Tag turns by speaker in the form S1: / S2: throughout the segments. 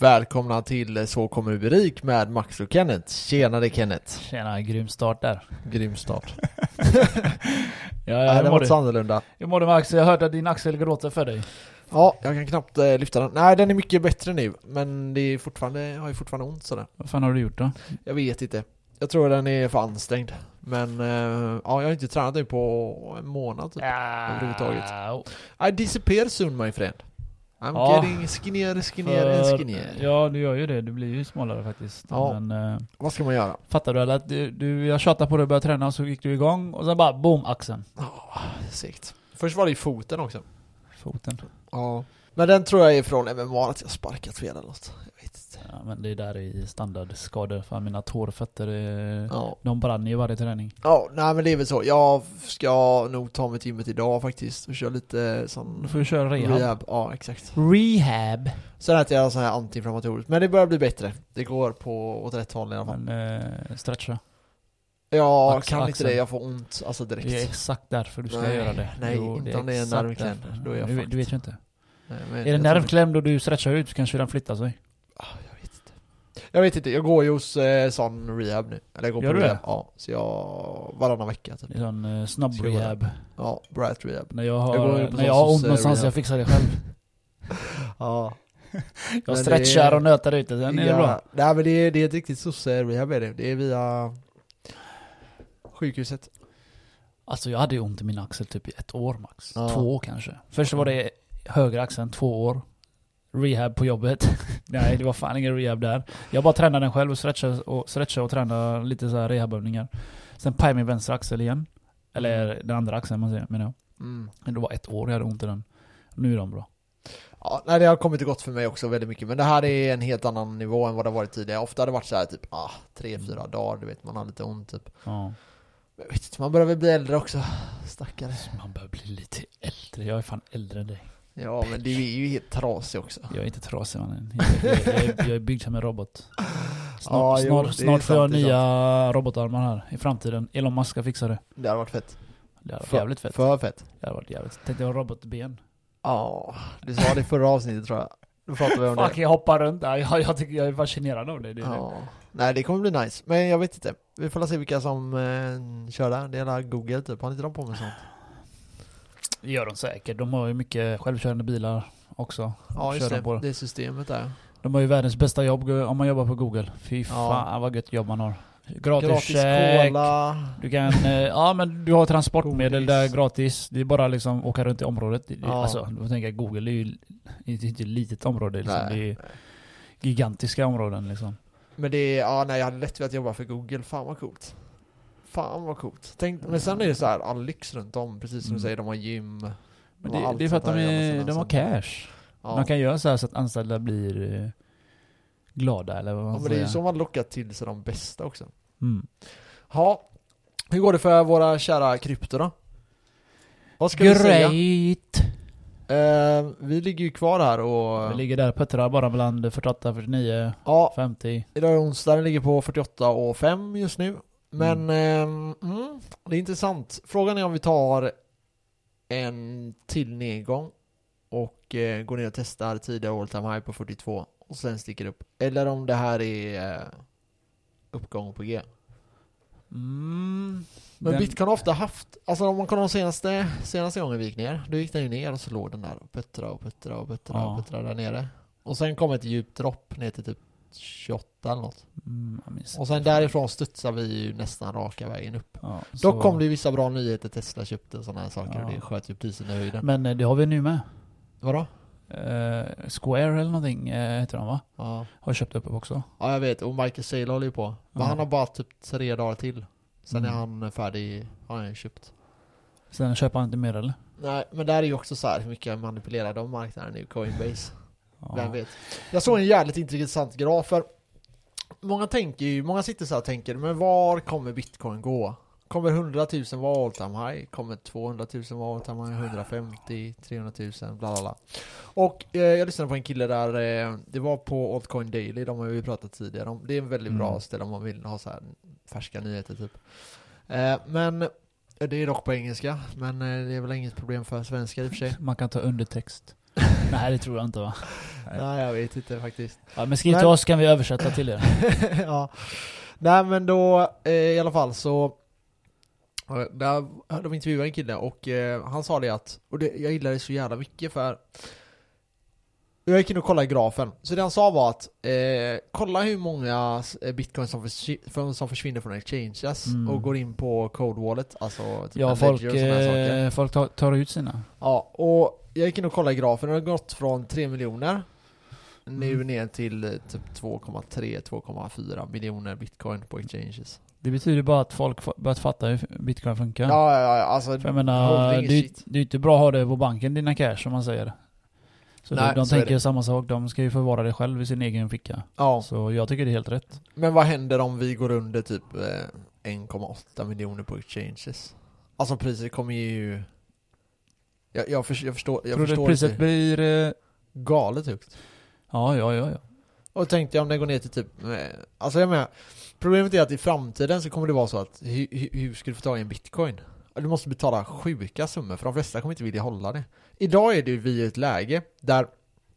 S1: Välkomna till eh, Så kommer du bli rik med Max och Kenneth. Tjenare Kenneth.
S2: Tjena, grym start där.
S1: Grym start.
S2: Ja,
S1: Nej,
S2: ja,
S1: det
S2: hur,
S1: var
S2: mår
S1: inte så
S2: du?
S1: annorlunda.
S2: hur mår du Max? Jag hörde att din axel gråter för dig.
S1: Ja, jag kan knappt eh, lyfta den. Nej, den är mycket bättre nu. Men det är fortfarande, jag har ju fortfarande ont sådär.
S2: Vad fan har du gjort då?
S1: Jag vet inte. Jag tror den är för ansträngd. Men eh, ja, jag har inte tränat nu på en månad typ. överhuvudtaget.
S2: Ja,
S1: I disappear soon my friend. I'm
S2: Ja.
S1: getting skinnier, skinnier and
S2: för,
S1: skinnier.
S2: ja, du gör ju det. Du blir ju smalare faktiskt.
S1: Ja.
S2: Men, eh,
S1: Vad ska man göra?
S2: fattar du eller? Att du, du, jag tjatade på dig att börja träna och så gick du igång och sen bara boom, axeln.
S1: Sikt. Först var det ju foten också.
S2: Foten.
S1: Ja. Men den tror jag är från MMA, att jag sparkat fel eller något. Jag vet inte.
S2: Ja, men det där är ju standardskador. Fan, mina tårfötter, är,
S1: Ja.
S2: de brann ju varje träning.
S1: Ja, nej men det är väl så. Jag ska nog ta mig till gymmet idag faktiskt och köra lite
S2: Du
S1: sån
S2: får ju köra rehab. Rehab.
S1: rehab. Ja, exakt.
S2: rehab.
S1: Sen äter jag sån här antiinflammatoriskt. Men det börjar bli bättre. Det går på åt rätt håll i alla fall.
S2: Men, eh, stretcha.
S1: Jag
S2: Ax-
S1: kan inte
S2: axeln.
S1: det, jag får ont alltså direkt.
S2: Det är exakt därför du ska
S1: Nej,
S2: göra det.
S1: nej, inte om det är en
S2: exakt
S1: nervkläm.
S2: därför.
S1: Då är jag
S2: du, vet-
S1: fucked.
S2: du vet ju inte.
S1: Nej, Eh, men jag
S2: är det
S1: tror
S2: nervklämd och du stretchar ut så kanske den flyttar sig.
S1: inte- Jag vet inte, jag går ju hos eh, sån rehab nu. Eller jag går
S2: Gör
S1: på
S2: du det?
S1: rehab. Ja, så jag varannan vecka typ.
S2: Det är sån eh, snabb
S1: Ska jag gå
S2: rehab.
S1: Ja, bright rehab.
S2: När jag har,
S1: Jag går ju på
S2: när
S1: sån
S2: jag har
S1: som
S2: ont
S1: säger
S2: någonstans,
S1: rehab.
S2: jag fixar det själv.
S1: Ja. Men
S2: Jag
S1: det-
S2: stretchar och nötar ut det, sen är det
S1: ja,
S2: bra.
S1: Nej men det är, det är ett riktigt sosse-rehab är det. Det är via sjukhuset.
S2: Alltså jag hade ju ont i min axel typ i ett år max.
S1: Ja.
S2: Två år kanske. Först var det högra axeln, två år. Rehab på jobbet. Nej, det var fan ingen rehab där. Jag bara tränade den själv och stretchade och, stretchade och tränade lite så här rehabövningar. Sen pajade min vänstra axel igen. Eller den andra axeln man säger, menar jag.
S1: Mm.
S2: Men det var ett år jag hade ont i den. Nu är de bra.
S1: Ja, nej det har kommit och gått för mig också väldigt mycket. Men det här är en helt annan nivå än vad det har varit tidigare. Ofta har det varit så här typ, ah, tre, fyra dagar, du vet man har lite ont typ.
S2: Ja.
S1: Men jag vet inte, man börjar väl bli äldre också. Stackare.
S2: Man börjar bli lite äldre. Jag är fan äldre än dig.
S1: Ja men du är ju helt trasig också.
S2: Jag är inte trasig mannen. Jag, jag, jag, jag är byggd som en robot.
S1: Ja,
S2: Snart,
S1: jo, det är
S2: snart, snart får jag
S1: sant, det är
S2: nya robotarmar här i framtiden. Elon Musk ska fixa det.
S1: Det har varit fett.
S2: Det hade varit
S1: För-
S2: jävligt fett.
S1: För fett.
S2: Det hade varit jävligt. Tänkte jag ha robotben.
S1: Ja, du sa det i förra avsnittet tror jag. Då pratade vi om det.
S2: Fuck jag hoppar runt där. Jag, jag, tycker jag är fascinerad av det. det, är det.
S1: Ja. Nej det kommer bli nice, men jag vet inte. Vi får se vilka som eh, kör där. Det är hela Google typ, har inte de på med sånt?
S2: Det gör de säkert. De har ju mycket självkörande bilar också.
S1: Ja just
S2: Kör de
S1: det,
S2: på det.
S1: det är systemet där.
S2: De har ju världens bästa jobb om man jobbar på Google. Fy fan vad gött jobb man har. Gratis,
S1: Gratis
S2: käk.
S1: cola.
S2: Du kan, eh, ja men du har
S1: Godis.
S2: transportmedel där gratis. Det är bara liksom åka runt i området. Det- det-
S1: Ja.
S2: Alltså, då tänker jag Google är ju inte, inte ett litet område liksom.
S1: Nej.
S2: Det är gigantiska områden liksom.
S1: Men det är, ja nej jag hade lätt velat jobba för Google, fan vad coolt. Fan vad coolt. Tänk, men sen är det så här all lyx runt om, precis som du
S2: Mm.
S1: säger, de har gym.
S2: Men
S1: De har
S2: det,
S1: allt
S2: det är för att
S1: sånt
S2: de,
S1: där i andra
S2: är,
S1: sidan
S2: de har
S1: som-
S2: cash.
S1: Ja.
S2: De kan göra så här så att anställda blir eh, glada eller vad man
S1: ja, men
S2: ska
S1: det är ju
S2: alltså säga.
S1: så man lockar till sig de bästa också.
S2: Mm.
S1: Ja, hur går det för våra kära krypto då? Vad ska vi säga?
S2: Great!
S1: Eh, vi ligger ju kvar här och...
S2: Vi ligger där och puttrar bara bland 48, 49,
S1: ja,
S2: 50.
S1: Idag är onsdag, den ligger på 48 och 5 just nu. Men ehm, mm, det är intressant. Frågan är om vi tar en till nedgång och eh, går ner och testar tidigare all time high på 42 och sen sticker upp. Eller om det här är eh, uppgång på G.
S2: Mm.
S1: Men
S2: Den-
S1: bitcoin har ofta haft, alltså om man kollar de senaste, senaste gången vi gick ner, då gick den ju ner och så låg den där och puttra och puttra och puttra och
S2: Ja.
S1: puttra där nere. Och sen kom ett djupt dropp ner till typ 28 eller något.
S2: Mm, jag minns
S1: Och sen
S2: inte.
S1: därifrån studsar vi ju nästan raka vägen upp.
S2: Ja, så-
S1: Dock kom det ju vissa bra nyheter, Tesla köpte och sådana här saker och
S2: Ja.
S1: det sköt ju priset i höjden.
S2: Men eh, det har vi nu med.
S1: Vadå?
S2: Eh, Square eller någonting eh, heter de va?
S1: Ja.
S2: Har köpt upp också.
S1: ja, jag vet. Och Michael Saylor håller ju på. Men
S2: Ja.
S1: han har bara typ tre dagar till. Sen är
S2: Mm.
S1: han färdig, har han ju köpt.
S2: Sen köper han inte mer eller?
S1: Nej, men där är ju också så här hur mycket manipulerar de marknaden nu, Coinbase?
S2: Ja.
S1: Vem vet? Jag såg en jävligt intressant graf för många tänker ju, många sitter så här och tänker, men var kommer bitcoin gå? Kommer 100 000 vara all time high? Kommer 200 000 vara all time high? 150, 300 000, bla bla bla. Och eh, jag lyssnade på en kille där, eh, det var på Altcoin Daily, de har vi pratat tidigare om. Det är en väldigt bra
S2: Mm.
S1: ställe om man vill ha så här färska nyheter typ. Eh, men det är dock på engelska, men eh, det är väl inget problem för svenskar i och för sig.
S2: Man kan ta undertext. Nej det tror jag inte va?
S1: Nej jag vet inte faktiskt.
S2: Ja, men skriv
S1: Nej.
S2: till oss kan vi översätta till er.
S1: ja. Nej men då eh, i alla fall så eh, där, de intervjuade en kille och eh, han sa det att, och det, jag gillar det så jävla mycket för jag gick in och kollade i grafen, så det han sa var att eh, kolla hur många eh, bitcoins som, försvi- för- som försvinner från exchanges
S2: Mm.
S1: och går in på code wallet, alltså typ
S2: Ja
S1: en ledger
S2: folk,
S1: och såna här saker.
S2: eh, folk tar, tar ut sina.
S1: Ja, och jag gick in och kollade i grafen och det har gått från 3 miljoner nu
S2: Mm.
S1: ner till eh, typ 2,3-2,4 miljoner bitcoin på exchanges.
S2: Det betyder bara att folk fa- börjat fatta hur bitcoin funkar.
S1: Ja, ja, ja alltså...
S2: För jag menar,
S1: holding
S2: det
S1: is
S2: är ju-
S1: shit.
S2: det är ju inte bra att ha det på banken dina cash som man säger. Så
S1: Nej,
S2: de, de
S1: så är
S2: tänker
S1: det.
S2: samma sak, de ska ju förvara det själv i sin egen ficka.
S1: Ja,
S2: Så jag tycker det är helt rätt.
S1: men vad händer om vi går under typ eh, 1,8 miljoner på exchanges? Alltså priset kommer ju... Jag, jag, förs- jag förstår, jag
S2: Tror du
S1: förstår
S2: att priset
S1: inte.
S2: blir... eh,
S1: Galet typ. högt.
S2: Ja, ja, ja, ja.
S1: Och tänkte jag om det går ner till typ... eh, Alltså jag menar, problemet är att i framtiden så kommer det vara så att hu, hu, hur ska du få tag i en bitcoin? Du måste betala sjuka summor för de flesta kommer inte vilja hålla det. Idag är det ju vi i ett läge där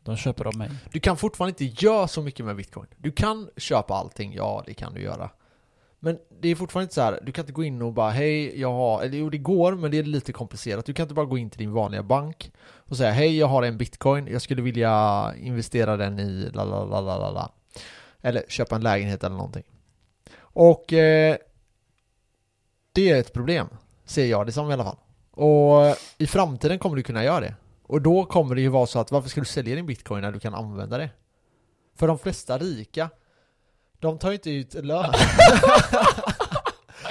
S2: De köper av mig.
S1: du kan fortfarande inte göra så mycket med bitcoin. Du kan köpa allting, ja det kan du göra. Men det är fortfarande inte så här, du kan inte gå in och bara hej, jag har, eller jo det går men det är lite komplicerat. Du kan inte bara gå in till din vanliga bank och säga hej, jag har en bitcoin, jag skulle vilja investera den i la la la la la la. Eller köpa en lägenhet eller någonting. Och eh, det är ett problem, ser jag det som i alla fall. Och eh, i framtiden kommer du kunna göra det. Och då kommer det ju vara så att varför ska du sälja din bitcoin när du kan använda det? För de flesta rika, de tar ju inte ut lön.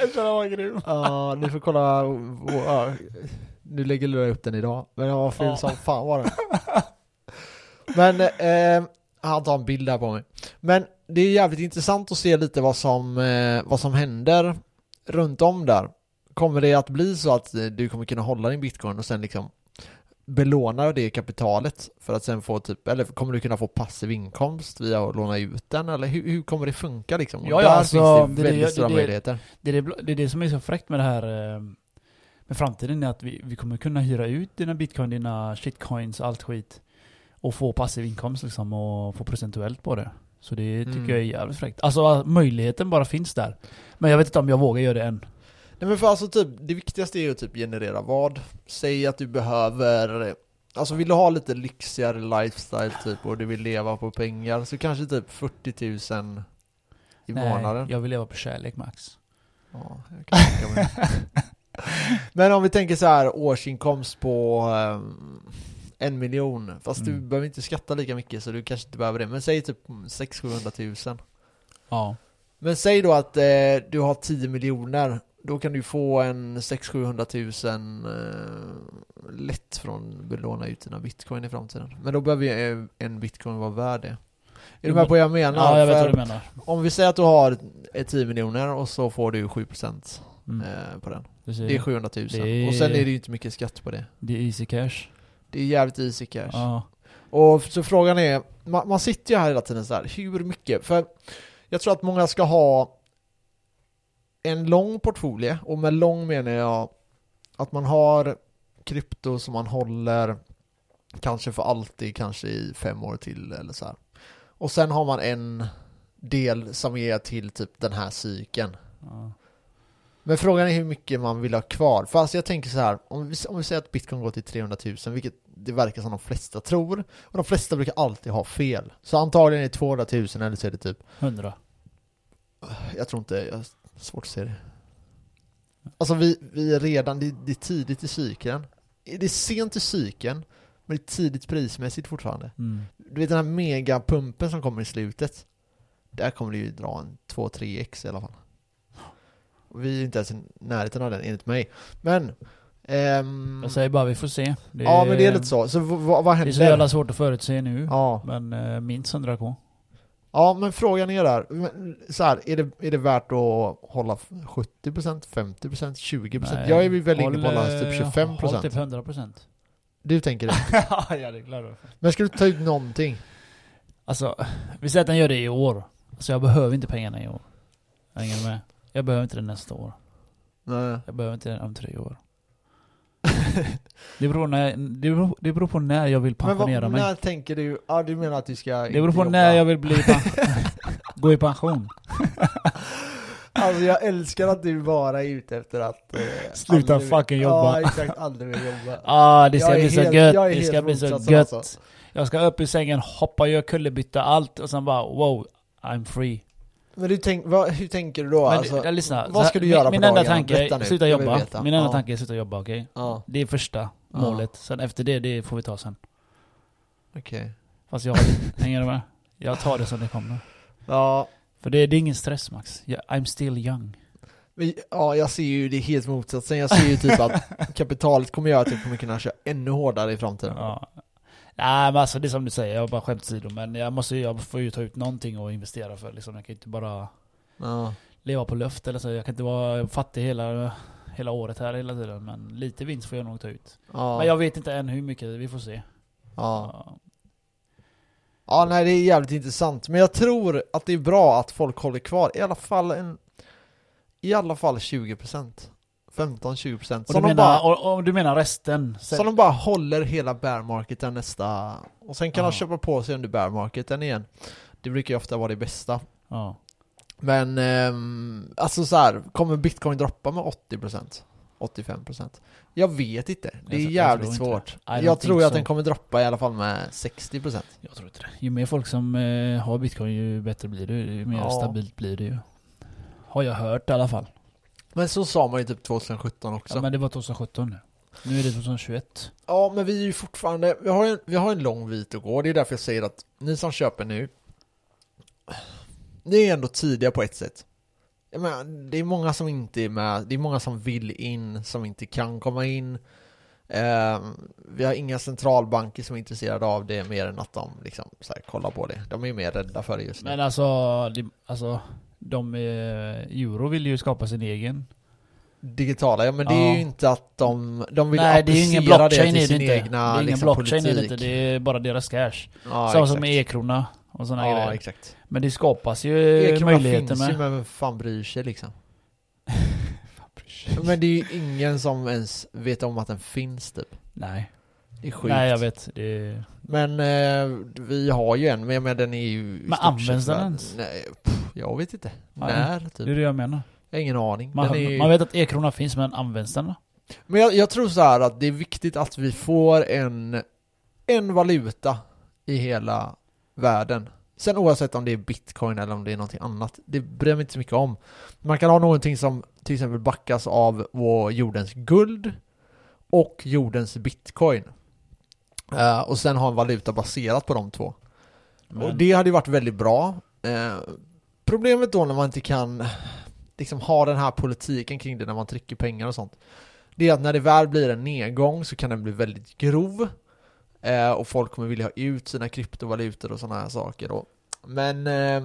S2: Jag tror den var grym.
S1: Ja, ni får kolla, ja, nu lägger Lura upp den idag, men den var ful
S2: Ja.
S1: som fan var den. Men, eh, han tar en bild där på mig. Men det är jävligt intressant att se lite vad som, eh, vad som händer runt om där. Kommer det att bli så att eh, du kommer kunna hålla din bitcoin och sen liksom belåna det kapitalet för att sen få typ, eller kommer du kunna få passiv inkomst via att låna ut den eller hur, hur kommer det funka liksom? Och
S2: Ja, ja,
S1: där
S2: alltså,
S1: finns det
S2: det- det-
S1: väldigt
S2: det-
S1: stora
S2: det-
S1: möjligheter.
S2: Det är det, bl- det är det som är så fräckt med det här eh, med framtiden är att vi, vi kommer kunna hyra ut dina bitcoin, dina shitcoins, allt skit. Och få passiv inkomst liksom och få procentuellt på det. Så det tycker
S1: Mm.
S2: jag är jävligt fräckt. Alltså möjligheten bara finns där. Men jag vet inte om jag vågar göra det än.
S1: Nej men för alltså typ, det viktigaste är ju att typ generera vad? Säg att du behöver, alltså vill du ha lite lyxigare lifestyle typ och du vill leva på pengar så kanske typ 40 000 i månaden.
S2: jag vill leva på kärlek Max.
S1: Ja, jag kan tänka mig det. men om vi tänker så här årsinkomst på ehm, en miljon, fast du
S2: Mm.
S1: behöver inte skatta lika mycket så du kanske inte behöver det, men säg typ 600-700 000.
S2: Ja.
S1: Men säg då att eh, du har 10 miljoner. Då kan du få en 600 000 eh, lätt från att belåna ut dina bitcoin i framtiden. Men då behöver ju eh, en bitcoin vara värd det. Är du
S2: Jo,
S1: med på vad jag menar?
S2: Mm. Ja, jag vet
S1: För
S2: vad du menar.
S1: Om vi säger att du har eh, 10 miljoner och så får du 7%
S2: Mm.
S1: eh, på den.
S2: Det,
S1: Det är
S2: är
S1: 700 000.
S2: Det-
S1: Och sen är det ju inte mycket skatt på det.
S2: det är easy cash.
S1: Det är jävligt easy cash.
S2: Ja.
S1: Och så frågan är, man, man sitter ju här hela tiden så här, hur mycket? För jag tror att många ska ha en lång portfolio, och med lång menar jag att man har krypto som man håller kanske för alltid, kanske i fem år till eller så här. Och sen har man en del som är till typ den här cykeln.
S2: ja.
S1: Men frågan är hur mycket man vill ha kvar. För alltså jag tänker så här, om vi, om vi säger att bitcoin går till 300 000, vilket det verkar som de flesta tror, och de flesta brukar alltid ha fel. Så antagligen är det 200 000 eller så är det typ,
S2: 100.
S1: jag tror inte, jag har svårt att se det. Alltså vi, vi är redan, det, det är tidigt i cykeln. Det är sent i cykeln, men det är tidigt prismässigt fortfarande.
S2: Mm.
S1: Du vet den här megapumpen som kommer i slutet. Där kommer det ju dra en 2-3x i alla fall. Och vi är ju inte ens i närheten av den enligt mig. Men... ehm,
S2: Jag säger bara vi får se. Det
S1: ja men det är lite så. Så v- vad, vad
S2: Det är
S1: händer?
S2: så jävla svårt att förutse nu.
S1: ja.
S2: Men eh, minst 100k.
S1: ja men frågan är där. Men, Så här, är, det, är det värt att hålla 70%, 50%, 20%?
S2: Nej.
S1: Typ, jag är ju väl inne på
S2: Håll,
S1: att hålla typ
S2: eh,
S1: 25%.
S2: Håll typ 100%.
S1: Du tänker det.
S2: ja, det är klart.
S1: Men ska du ta ut någonting?
S2: Alltså, vi säger att den gör det i år. Alltså jag behöver inte pengarna i år. Hänger du med? Jag behöver inte det nästa år.
S1: Nej.
S2: Jag behöver inte det om tre år. Det beror, när, det, beror, det beror på när jag vill
S1: Men vad,
S2: pensionera mig.
S1: när tänker du, ja du menar att du ska
S2: Det beror på när jag vill bli pen- gå i pension.
S1: Alltså jag älskar att du bara är ute efter att... eh,
S2: Sluta
S1: aldrig-
S2: fucking jobba.
S1: Ja exakt, aldrig mer jobba.
S2: Ah, det ska
S1: Jag är
S2: bli så
S1: helt-
S2: gött.
S1: jag är
S2: Det ska
S1: helt
S2: bli så
S1: motsatsen,
S2: gött.
S1: alltså.
S2: Jag ska upp ur sängen, hoppa, göra kullerbytta, allt och sen bara wow, I'm free.
S1: Men du tänk, vad, hur tänker du då?
S2: Men
S1: alltså,
S2: du, lyssna,
S1: vad
S2: så-
S1: ska du
S2: min-
S1: göra på
S2: Min enda
S1: dagarna?
S2: tanke
S1: Berätta
S2: är
S1: nu,
S2: sluta
S1: jag vill
S2: jobba.
S1: veta.
S2: Min enda
S1: Ja.
S2: tanke är sluta jobba, okej?
S1: ja,
S2: Det är första
S1: Ja.
S2: målet. Sen efter det, det får vi ta sen.
S1: okej.
S2: Fast jag har- hänger du med? Jag tar det som det kommer.
S1: Ja,
S2: För det, det är ingen stress Max. Jag, I'm still young.
S1: men, ja, jag ser ju det helt motsatsen. Jag ser ju typ att kapitalet kommer göra typ att jag kommer kunna köra ännu hårdare i framtiden.
S2: Ja. Nej men alltså det är som du säger, jag har bara skämt åsido men jag måste ju, jag får ju ta ut någonting och investera för liksom. Jag kan ju inte bara
S1: Ja.
S2: leva på luft eller så. Jag kan inte vara fattig hela, hela året här hela tiden. Men lite vinst får jag nog ta ut.
S1: Ja.
S2: Men jag vet inte än hur mycket, vi får se.
S1: ja.
S2: Ja.
S1: Ja, nej det är jävligt intressant. Men jag tror att det är bra att folk håller kvar i alla fall en... I alla fall 20%. 15-20%.
S2: Och du,
S1: Som, de
S2: menar,
S1: bara-
S2: och, och du menar resten? Sen,
S1: som de bara håller hela bear marketen nästa... Och sen kan
S2: Ja.
S1: de köpa på sig under bear marketen igen. Det brukar ju ofta vara det bästa.
S2: ja.
S1: Men ehm, alltså så här, kommer bitcoin droppa med 80%? 85%? Jag vet inte. Det
S2: Jag
S1: är
S2: tr- jag
S1: jävligt
S2: tror
S1: svårt.
S2: inte det. I don't
S1: Jag tror
S2: think
S1: att den
S2: so.
S1: kommer droppa i alla fall med 60%.
S2: Jag tror inte det. Ju mer folk som eh, har bitcoin ju bättre blir det Ju mer
S1: Ja.
S2: stabilt blir det ju. Har jag hört i alla fall.
S1: Men så sa man ju typ 2017 också.
S2: Ja, men det var 2017 nu. Nu är det 2021.
S1: Ja, men vi är ju fortfarande, vi har ju en, vi har en lång vit att gå. Det är därför jag säger att ni som köper nu, ni är ändå tidiga på ett sätt. Jag menar, det är många som inte är med, det är många som vill in, som inte kan komma in. Eh, vi har inga centralbanker som är intresserade av det mer än att de liksom så här, kollar på det. De är mer rädda för det just nu.
S2: Men alltså, det, alltså de eh, euro vill ju skapa sin egen.
S1: Digitala, ja men det är
S2: Ja.
S1: ju inte att de, de vill
S2: Nej det är ju ingen
S1: applicera
S2: blockchain
S1: det
S2: är
S1: till
S2: det
S1: sin
S2: inte. Det
S1: egna
S2: är ingen
S1: liksom,
S2: blockchain
S1: politik.
S2: är det inte. Det är bara deras cash.
S1: Ja,
S2: Samma som
S1: exakt.
S2: med e-krona och sådana
S1: Ja,
S2: grejer.
S1: exakt.
S2: Men det skapas ju
S1: E-krona
S2: möjligheter
S1: finns ju,
S2: med.
S1: men vem fan bryr sig liksom? Men det är ju ingen som ens vet om att den finns typ.
S2: Nej.
S1: Det är sjukt.
S2: Nej jag vet. Det är...
S1: Men eh, vi har ju en, men jag menar den är ju... i
S2: Men
S1: stort sett
S2: används den
S1: värd-
S2: ens?
S1: Nej, pff, jag vet inte.
S2: Nej.
S1: När
S2: det är
S1: typ?
S2: det jag menar.
S1: Jag har ingen aning.
S2: Man,
S1: Den är ju...
S2: man vet att e-krona finns men används den då?
S1: Men jag, jag tror så här att det är viktigt att vi får en, en valuta i hela världen. Sen oavsett om det är bitcoin eller om det är någonting annat, det bryr mig inte så mycket om. Man kan ha någonting som till exempel backas av vår jordens guld och jordens bitcoin. Eh, och sen ha en valuta baserat på de två. Och
S2: Men,
S1: det hade ju varit väldigt bra. Eh, problemet då när man inte kan liksom ha den här politiken kring det när man trycker pengar och sånt. Det är att när det väl blir en nedgång så kan den bli väldigt grov. Eh, och folk kommer vilja ha ut sina kryptovalutor och sådana här saker då. Men eh,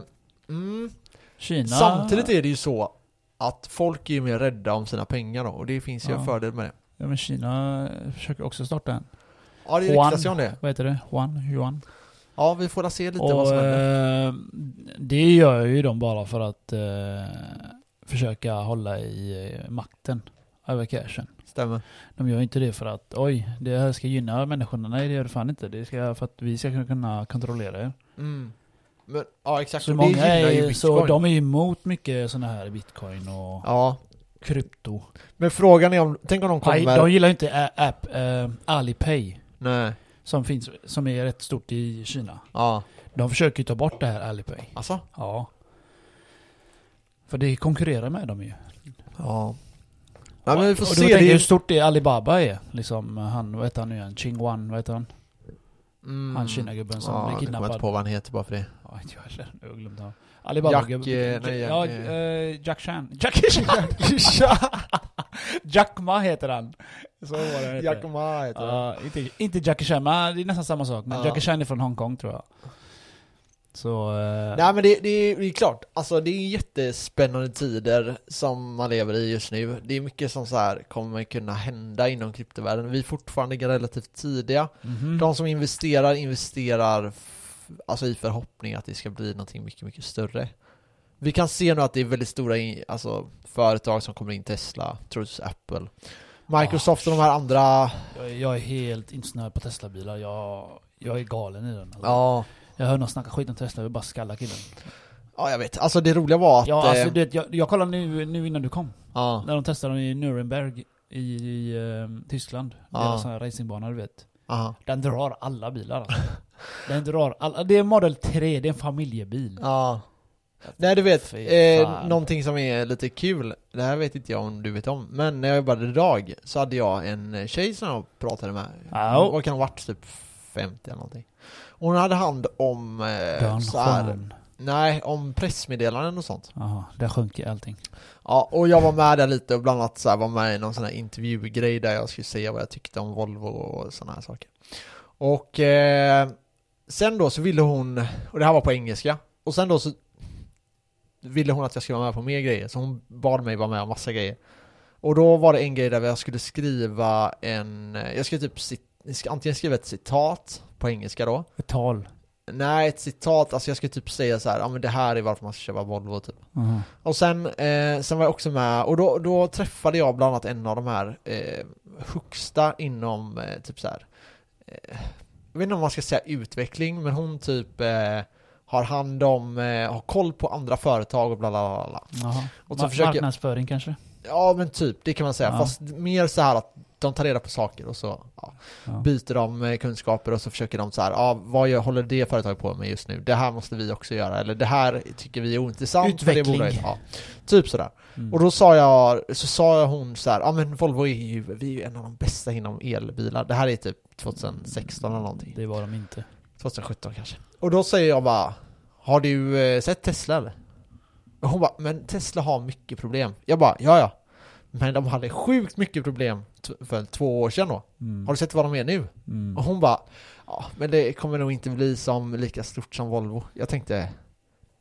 S1: mm,
S2: Kina...
S1: samtidigt är det ju så att folk är ju mer rädda om sina pengar då. Och det finns ju
S2: Ja.
S1: en fördel med det.
S2: Ja, men Kina försöker också starta en.
S1: Ja, det
S2: Juan.
S1: ryktas ju om det.
S2: Vad heter det? Yuan? Yuan?
S1: Ja, vi får la se lite vad
S2: Och
S1: som händer.
S2: eh, det gör ju de bara för att eh, försöka hålla i eh, makten över cashen.
S1: Stämmer.
S2: De gör inte det för att oj, det här ska gynna människorna. Nej det gör det fan inte. Det ska för att vi ska kunna kontrollera er.
S1: Mm. Men, ja, exakt.
S2: Så,
S1: Och det
S2: många
S1: gynnar ju
S2: är, så
S1: bitcoin.
S2: de är ju emot mycket sådana här bitcoin och
S1: Ja,
S2: krypto.
S1: Men frågan är om, tänk om de
S2: Aj,
S1: kommer...
S2: De gillar ju inte ä- app, eh, Alipay
S1: Nej,
S2: som, finns, som är rätt stort i Kina.
S1: ja.
S2: De försöker ju ta bort det här Alipay.
S1: Alltså?
S2: Ja. För det konkurrerar med dem ju.
S1: Ja. Nej men vi får
S2: och
S1: se, det
S2: då tänker jag hur
S1: är...
S2: stort det Alibaba är. Liksom han, vad heter han nu igen? Ching Wan, vad heter han?
S1: Mm.
S2: Han Kinagubben som
S1: ja,
S2: blev
S1: jag kommer inte
S2: kidnappad.
S1: på vad han heter bara för det.
S2: Ja, inte jag heller. Jag har glömt honom.
S1: Jack,
S2: Alibaba-gubben.
S1: eh, nej,
S2: ja,
S1: Jack, eh.
S2: eh, Jack Chan. Jack Chan! Jack Ma heter han. Så var det han heter.
S1: Ma heter han.
S2: Ja, inte, inte Jackie Chan, men ah, det är nästan samma sak. Men
S1: Ja.
S2: Jackie Chan är från Hongkong tror jag. Så... eh,
S1: Nej men det, det, är, det är klart, alltså det är jättespännande tider som man lever i just nu. Det är mycket som så här kommer kunna hända inom kryptovärlden. Vi är fortfarande relativt tidiga.
S2: mhm.
S1: De som investerar, investerar f- alltså i förhoppning att det ska bli någonting mycket, mycket större. Vi kan se nu att det är väldigt stora in- alltså, företag som kommer in, Tesla, troligtvis Apple. Microsoft och de här andra...
S2: Jag, är- jag är helt insnöad på Tesla-bilar. Jag, jag är galen i den. alltså.
S1: Ja.
S2: Jag hör någon snacka skit om Tesla, jag vill bara skalla killen.
S1: ja, jag vet. Alltså det roliga var att...
S2: Ja,
S1: eh,
S2: alltså, du vet, jag, jag kollade nu, nu innan du kom.
S1: ja.
S2: När de testade dem i Nürnberg i, i eh, Tyskland.
S1: Ja.
S2: Deras sån här racingbana, du vet.
S1: aha.
S2: Den drar alla bilar alltså. Den drar alla. Det är Model 3, det är en familjebil.
S1: Ja. Nej du vet,
S2: Fy
S1: eh,
S2: fan.
S1: någonting som är lite kul, det här vet inte jag om du vet om, men när jag jobbade idag så hade jag en tjej som jag pratade med,
S2: Ja.
S1: vad kan hon varit, typ 50 eller någonting. Hon hade hand om, eh,
S2: Den
S1: så här,
S2: skön.
S1: nej, om pressmeddelanden och sånt.
S2: Jaha, där sjönk ju allting.
S1: Ja, och jag var med där lite och bland annat så här, var med i någon sån här intervjugrej där jag skulle säga vad jag tyckte om Volvo och såna här saker. Och eh, sen då så ville hon, och det här var på engelska, och sen då så ville hon att jag skulle vara med på mer grejer, så hon bad mig vara med om massa grejer. Och då var det en grej där jag skulle skriva en, jag skulle typ cit, jag ska antingen skriva ett citat på engelska då,
S2: Ett tal.
S1: nej ett citat, alltså jag skulle typ säga så här, ja men det här är varför man ska köpa Volvo typ.
S2: Jaha.
S1: Och sen, eh, sen var jag också med, och då, då träffade jag bland annat en av de här eh, högsta inom eh, typ så här. Eh, jag vet inte om man ska säga utveckling, men hon typ eh, har hand om, eh, har koll på andra företag och bla bla bla. bla.
S2: Jaha.
S1: Och så
S2: Ma-
S1: försöker-
S2: Marknadsföring kanske?
S1: Ja men typ, det kan man säga.
S2: Ja.
S1: Fast mer så här att de tar reda på saker och så ja,
S2: Ja.
S1: byter de eh, kunskaper och så försöker de så här, ja vad gör, håller det företaget på med just nu? Det här måste vi också göra, eller det här tycker vi är ointressant. för Det
S2: Utveckling.
S1: bolaget." ja, typ sådär.
S2: Mm.
S1: Och då sa jag, så sa hon så här, ja men Volvo är ju, vi är ju en av de bästa inom elbilar. Det här är typ 2016 eller någonting.
S2: Det var de inte.
S1: 2017 kanske. Och då säger jag bara, har du eh, sett Tesla eller? Och hon bara, men Tesla har mycket problem. Jag bara, ja ja. Men de hade sjukt mycket problem t- för två år sedan då.
S2: Mm.
S1: Har du sett vad de är nu?
S2: Mm.
S1: Och hon bara, ja men det kommer nog inte bli som, lika stort som Volvo. Jag tänkte,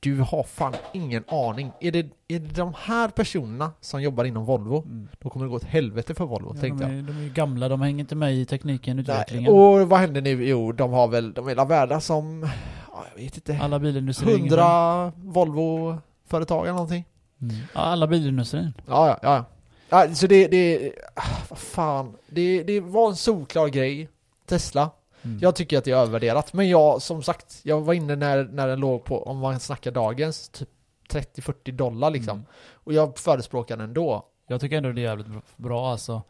S1: du har fan ingen aning. Är det, är det de här personerna som jobbar inom Volvo,
S2: Mm.
S1: då kommer det gå åt helvete för Volvo,
S2: Ja, de,
S1: tänkte jag.
S2: är, de är ju gamla, de hänger inte med i tekniken,
S1: Nej,
S2: utvecklingen.
S1: och vad händer nu? Jo, de har väl, de är väl värda som, ja, jag vet inte,
S2: Alla bilindustrier. är ingen bra.
S1: hundra Volvo-företag eller någonting.
S2: Mm. Ja, alla bilindustrier.
S1: Ja, ja, ja. ja. Ja, så det, det, ah, vad fan. Det, det var en solklar grej, Tesla.
S2: Mm.
S1: Jag tycker att det är övervärderat, men jag, som sagt, jag var inne när, när den låg på, om man snackar dagens, typ 30-40 dollar liksom.
S2: Mm.
S1: Och jag förespråkar den ändå.
S2: Jag tycker ändå det är jävligt bra- bra alltså.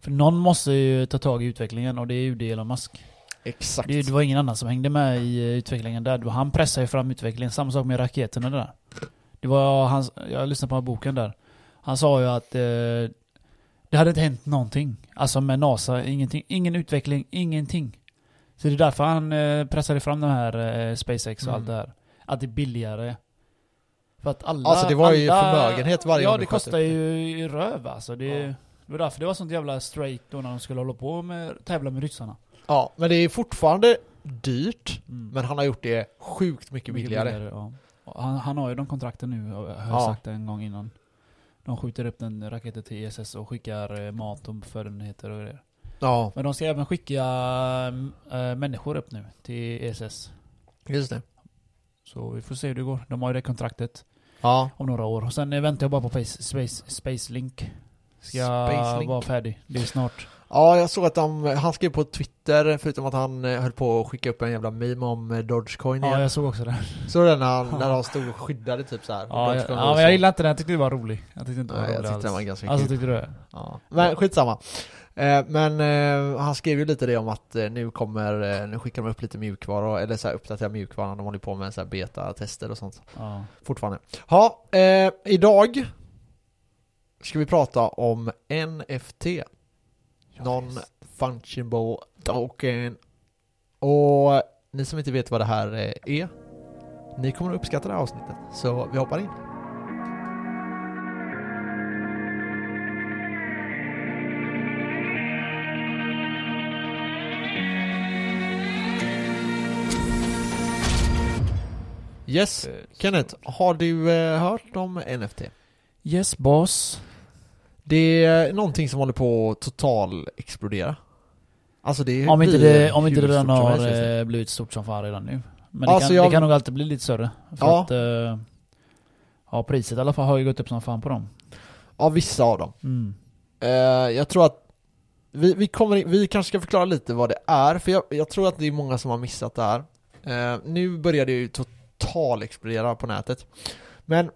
S2: För någon måste ju ta tag i utvecklingen och det är ju det Elon Musk.
S1: Exakt.
S2: Det, det var ingen annan som hängde med i eh, utvecklingen där. Det var- Han pressade ju fram utvecklingen. Samma sak med raketerna där. Det var hans, jag lyssnade på den här boken där. Han sa ju att eh, det hade inte hänt någonting. Alltså med NASA, ingenting. Ingen utveckling, ingenting. Så det är därför han eh, pressade fram de här eh, SpaceX och
S1: Mm.
S2: allt det här. Att det är billigare. För att alla...
S1: Alltså, det var ju
S2: alla,
S1: förmögenhet varje
S2: Ja,
S1: gång
S2: det
S1: du sköt
S2: kostar
S1: upp det.
S2: ju röv alltså. Det,
S1: Ja.
S2: det var därför det var sånt jävla straight då när de skulle hålla på med tävla med ryssarna.
S1: Ja, men det är fortfarande dyrt,
S2: Mm.
S1: men han har gjort det sjukt mycket billigare.
S2: ja. Och han, han har ju de kontrakten nu, har jag
S1: Ja.
S2: sagt det en gång innan. De skjuter upp den raketen till ESS och skickar eh, mat och förnödenheter och grejer.
S1: Ja,
S2: Men de ska även skicka äh, människor upp nu till ESS.
S1: just det.
S2: Så vi får se hur det går. De har ju det kontraktet
S1: Ja.
S2: om några år. Och sen eh, väntar jag bara på Space, space, space Link. Ska
S1: Spacelink.
S2: vara färdig. Det är snart.
S1: Ja, jag såg att de, han skrev på Twitter, förutom att han eh, höll på att skicka upp en jävla meme om eh, Dogecoin
S2: Ja,
S1: igen.
S2: jag såg också det.
S1: Såg du den när, han, när de stod och skyddade typ så här?
S2: Ja, jag,
S1: Dogecoin
S2: ja,
S1: och så.
S2: men jag gillade inte den. Jag tyckte det var rolig. Jag tyckte inte det var
S1: Nej, jag
S2: rolig
S1: tyckte den var
S2: alls.
S1: ganska
S2: Alltså
S1: kul.
S2: tyckte du det?
S1: Ja. Men skitsamma. Eh, Men eh, han skrev ju lite det om att eh, nu kommer, eh, nu skickar de upp lite mjukvara, eller så här uppdaterar mjukvaran, de håller på med så här beta-tester och sånt
S2: Ja.
S1: fortfarande. Ja, eh, idag ska vi prata om NFT, Non-Fungible Token. Och ni som inte vet vad det här eh, är, ni kommer att uppskatta det här avsnittet. Så vi hoppar in. Yes, Kenneth, har du eh, hört om NFT?
S2: Yes boss.
S1: Det är någonting som håller på att total explodera. Alltså det
S2: Om inte
S1: blir
S2: det, om inte det
S1: hur
S2: redan
S1: stort som
S2: har
S1: helst just nu.
S2: eh, blivit stort som fan redan nu. Men
S1: Alltså,
S2: det, kan,
S1: jag-
S2: det kan nog alltid bli lite större. För
S1: Ja.
S2: att, eh, ja, priset i alla fall har ju gått upp som fan på dem.
S1: Ja, vissa av dem.
S2: Mm.
S1: Eh, jag tror att Vi, vi, kommer, in- vi kanske ska förklara lite vad det är, för jag, jag tror att det är många som har missat det här. Eh, nu börjar det ju total explodera på nätet. Men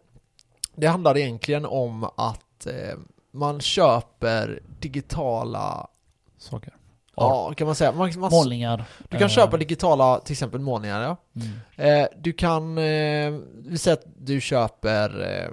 S1: det handlar egentligen om att eh, man köper digitala,
S2: Saker.
S1: ja kan man säga, man, man,
S2: Målningar.
S1: du kan
S2: eh,
S1: köpa digitala till exempel målningar ja.
S2: mm.
S1: Eh, du kan, eh, vi säger att du köper eh,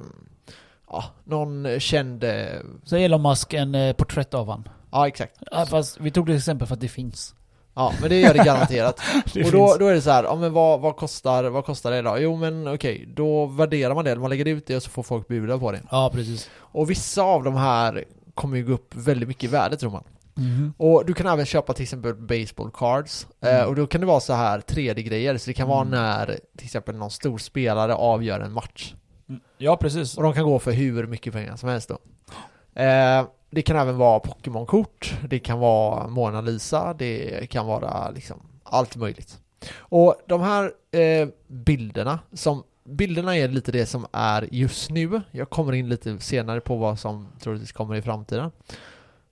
S1: ja, någon känd, eh,
S2: Så Elon Musk en eh, porträtt av han.
S1: ja exakt.
S2: Ja, fast vi tog det exempel för att det finns.
S1: Ja men det gör det garanterat.
S2: Det
S1: och då, då är det så här, ja men vad, vad, kostar, vad kostar det idag? Jo men okej, då värderar man det, man lägger ut det och så får folk bjuda på det.
S2: Ja, precis.
S1: Och vissa av de här kommer ju gå upp väldigt mycket i värde tror man. Och du kan även köpa till exempel baseball cards.
S2: Mm.
S1: Eh, och då kan det vara så här 3D-grejer, så det kan vara
S2: Mm.
S1: när till exempel någon stor spelare avgör en match.
S2: Ja, precis.
S1: Och de kan gå för hur mycket pengar som helst då. Eh, det kan även vara Pokémon-kort, det kan vara Mona Lisa, det kan vara liksom allt möjligt. Och de här eh, bilderna, som, bilderna är lite det som är just nu. Jag kommer in lite senare på vad som troligtvis kommer i framtiden.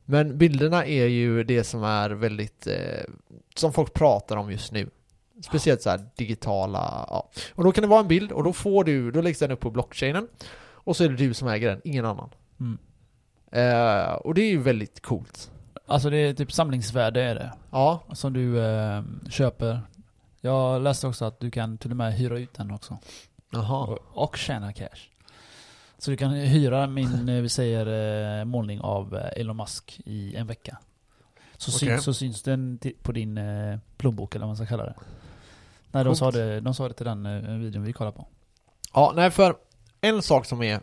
S1: Men bilderna är ju det som är väldigt, eh, som folk pratar om just nu. Speciellt så här digitala, ja. Och då kan det vara en bild och då får du, då läggs den upp på blockchainen. Och så är det du som äger den, ingen annan.
S2: Mm.
S1: Eh, och det är ju väldigt coolt.
S2: Alltså det är typ samlingsvärde är det.
S1: Ja,
S2: Som du eh, köper. Jag läste också att du kan till och med hyra ut den också.
S1: jaha.
S2: Och, och tjäna cash. Så du kan hyra min, eh, vi säger, eh, målning av eh, Elon Musk i en vecka. Så,
S1: Okej.
S2: syns, så syns den ti- på din eh, plånbok eller vad man ska kalla det. Nej, de sa
S1: Coolt.
S2: det, de sa det till den eh, videon vi kollade på.
S1: Ja, nej för en sak som är, eh,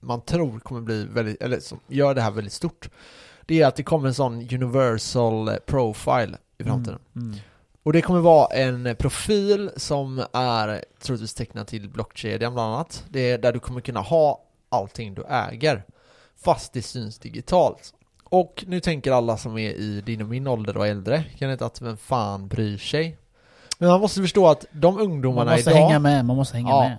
S1: man tror kommer bli väldigt, eller som gör det här väldigt stort. Det är att det kommer en sån universal profile i framtiden.
S2: Mm. Mm.
S1: Och det kommer vara en profil som är troligtvis tecknad till blockkedjan bland annat. Det är där du kommer kunna ha allting du äger. Fast det syns digitalt. Och nu tänker alla som är i din och min ålder och äldre, kan inte att vem fan bryr sig? Men man måste förstå att de
S2: Man
S1: ungdomarna
S2: måste
S1: idag,
S2: hänga med, man måste hänga
S1: Ja.
S2: med.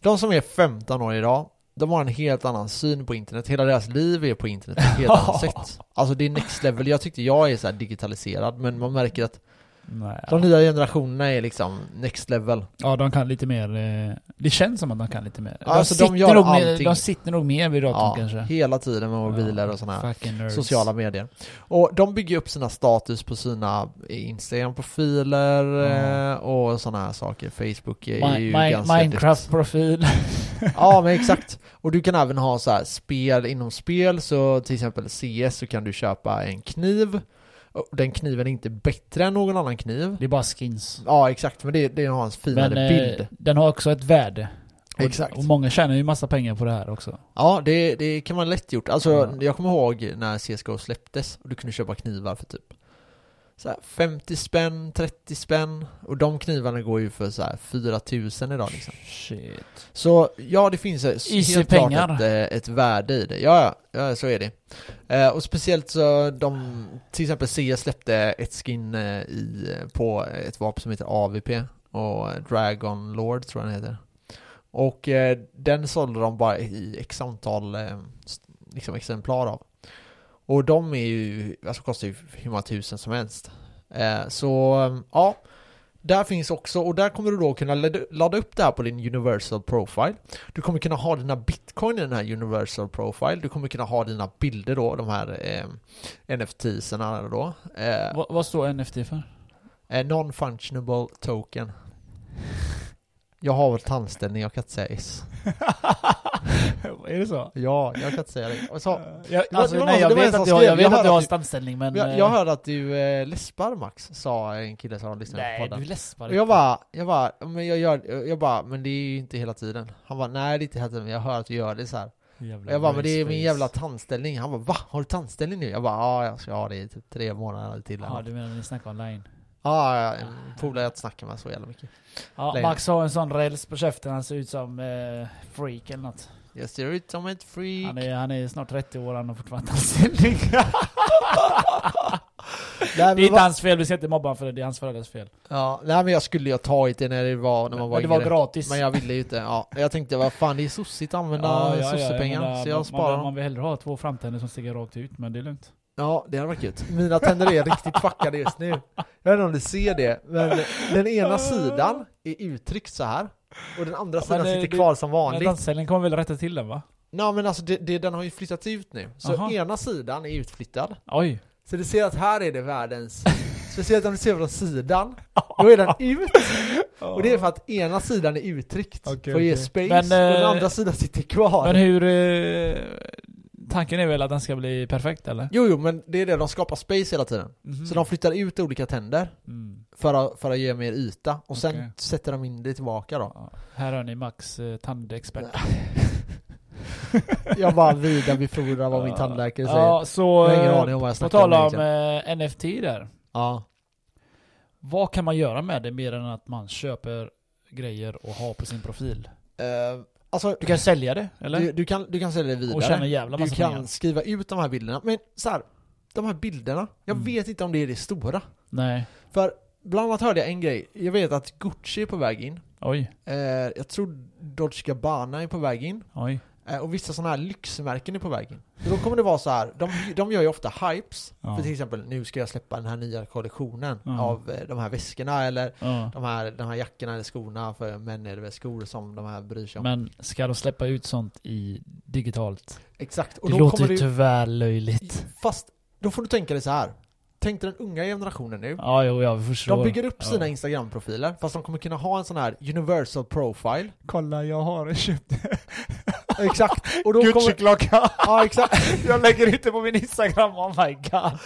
S1: de som är 15 år idag, de har en helt annan syn på internet. Hela deras liv är på internet på ett helt annat sätt. Alltså det är next level. Jag tyckte jag är så här digitaliserad, men man märker att
S2: Nej,
S1: de nya generationerna är liksom next level.
S2: Ja, de kan lite mer. eh, Det känns som att de kan lite mer. De,
S1: Alltså, de
S2: sitter,
S1: gör
S2: nog mer,
S1: allting.
S2: de sitter nog mer vid datorn kanske.
S1: hela tiden med mobiler och sådana här
S2: Fucking nerds.
S1: sociala medier. Och de bygger upp sina status på sina Instagram-profiler
S2: Ja.
S1: eh, och sådana här saker. Facebook är
S2: Mi-
S1: ju
S2: mi-
S1: ganska...
S2: Minecraft-profil.
S1: Ja, men exakt. Och du kan även ha så här spel inom spel, så till exempel CS så kan du köpa en kniv. Och Den kniven är inte bättre än någon annan kniv.
S2: Det är bara skins.
S1: Ja, exakt, men det, det har en finare
S2: Men eh,
S1: bild.
S2: den har också ett värde. Och,
S1: Exakt.
S2: och många tjänar ju massa pengar på det här också.
S1: Ja, det, det kan man lätt gjort. Alltså,
S2: Ja.
S1: jag kommer ihåg när CSGO släpptes och du kunde köpa knivar för typ så här 50 spänn, 30 spänn och de knivarna går ju för så här 4000 idag liksom.
S2: Shit.
S1: Så ja, det finns eh,
S2: Easy
S1: helt klart
S2: pengar.
S1: ett, eh, ett värde i det. Ja, ja, ja, så är det. Eh, Och speciellt så de, till exempel CS släppte ett skin eh, i, på ett vapen som heter AVP och Dragon Lord tror jag den heter. Och eh, den sålde de bara i x antal eh, s- liksom exemplar av. Och de är ju, alltså kostar ju hur många tusen som helst. Eh, så eh, ja, där finns också, och där kommer du då kunna lad- ladda upp det här på din Universal Profile. Du kommer kunna ha dina bitcoin i den här Universal Profile. Du kommer kunna ha dina bilder då, de här eh, NFTs-erna då. Eh,
S2: Vad- vad står NFT för?
S1: eh, Non-functionable token. Jag har väl tandställning, jag kan inte säga S.
S2: är det så?
S1: Ja, jag kan inte säga det. Och så,
S2: Jag,
S1: var-
S2: alltså,
S1: det var
S2: nej,
S1: någon-
S2: jag
S1: det var en
S2: vet
S1: som
S2: att du har-
S1: skrev,
S2: jag
S1: jag
S2: vet
S1: hörde
S2: att du har
S1: att du-
S2: stamställning men...
S1: jag,
S2: eh,
S1: jag hörde att du eh, läspar Max, sa en kille som lyssnade på
S2: Nej,
S1: podden.
S2: du läspar
S1: Och jag bara, jag bara, men jag gör, jag bara, men det är ju inte hela tiden. Han bara, nej det är inte hela tiden, men jag hör att du gör det så här. Och jag bara, men det är min jävla tandställning. Han bara, va? Har du tandställning nu? Jag bara, ja jag ska ha det i typ tre månader till.
S2: Ja,
S1: Ja,
S2: du Ah. menar när ni snackar online?
S1: ja, ja, en polare jag inte snackar med så jävla mycket.
S2: Ja,
S1: Längre.
S2: Max har en sån räls på käften, han ser ut som eh, freak eller något.
S1: Jag ser ut som ett freak.
S2: Han är, han är snart 30 år, han har fortfarande anställning.
S1: Nej,
S2: det är
S1: men,
S2: inte
S1: va?
S2: hans fel, vi ska inte mobba honom för det, det är hans föräldrars fel.
S1: ja, nej men jag skulle ju ha tagit det när det var, när man var
S2: Men det var
S1: yngre.
S2: gratis.
S1: Men jag ville ju inte, ja. Jag tänkte, vad fan det är sossigt att använda
S2: jag
S1: sossepengar.
S2: menar,
S1: så jag
S2: man,
S1: sparar
S2: man,
S1: dem.
S2: man vill hellre ha två framtänder som sticker rakt ut, men det är lugnt.
S1: Ja, det hade varit gött. Mina tänder är riktigt fuckade just nu. Jag vet inte om du ser det, men den ena sidan är uttryckt så här och den andra
S2: Ja,
S1: sidan
S2: men, eh,
S1: sitter
S2: det-
S1: kvar som
S2: Men
S1: vanligt.
S2: danscellen kommer väl rätta till den va?
S1: Nej men alltså det, det, den har ju flyttats ut nu. Så
S2: Aha.
S1: ena sidan är utflyttad.
S2: Oj.
S1: Så du ser att här är det världens... Speciellt om du ser från sidan, då är den ut. Och det är för att ena sidan är uttryckt
S2: Okej,
S1: för att ge
S2: okej.
S1: space,
S2: Men,
S1: och den
S2: eh,
S1: andra sidan sitter kvar.
S2: Men hur... Eh, tanken är väl att den ska bli perfekt eller?
S1: Jo, jo, men det är det, de skapar space hela tiden.
S2: Mhm.
S1: Så de flyttar ut olika tänder
S2: Mm.
S1: för att, för att ge mer yta, och sen
S2: Okej.
S1: sätter de in det tillbaka då.
S2: Ja. Här har ni Max eh, tandexpert.
S1: Jag bara vidarebefordrar vad min tandläkare säger.
S2: Ja, så...
S1: jag har ingen
S2: eh,
S1: aning om vad jag
S2: På
S1: snackar
S2: tal
S1: om
S2: om
S1: egentligen.
S2: eh, NFT där.
S1: Ja.
S2: Vad kan man göra med det mer än att man köper grejer och har på sin profil?
S1: Eh, alltså,
S2: Du kan sälja det, eller?
S1: du, du, kan, du kan sälja det vidare.
S2: och tjäna en jävla
S1: Du
S2: massa
S1: kan
S2: pengar.
S1: skriva ut de här bilderna, men så här, de här bilderna, jag
S2: Mm.
S1: vet inte om det är det stora.
S2: Nej.
S1: För bland annat hörde jag en grej, jag vet att Gucci är på väg in,
S2: Oj.
S1: eh, jag tror Dolce Gabbana är på väg in,
S2: Oj.
S1: eh, och vissa sådana här lyxmärken är på väg in. Så då kommer det vara så här, de, de gör ju ofta hypes,
S2: Ja.
S1: för till exempel nu ska jag släppa den här nya kollektionen
S2: Ja.
S1: av eh, de här väskorna eller
S2: Ja.
S1: de här, de här jackorna eller skorna, för män är det väl skor som de här bryr sig om.
S2: Men ska de släppa ut sånt i digitalt?
S1: Exakt, och
S2: Det
S1: då
S2: låter
S1: kommer
S2: ju
S1: det
S2: tyvärr löjligt.
S1: Fast då får du tänka dig så här. Tänk dig den unga generationen nu.
S2: Ja, jo, jag förstår.
S1: De bygger upp sina
S2: ja.
S1: Instagram-profiler, fast de kommer kunna ha en sån här universal profile.
S3: Kolla, jag har köpt
S1: Exakt. Och då kommer...
S3: Gucci-klocka.
S1: Ja, exakt.
S2: Jag lägger ut det på min Instagram, oh my god.
S1: Ja,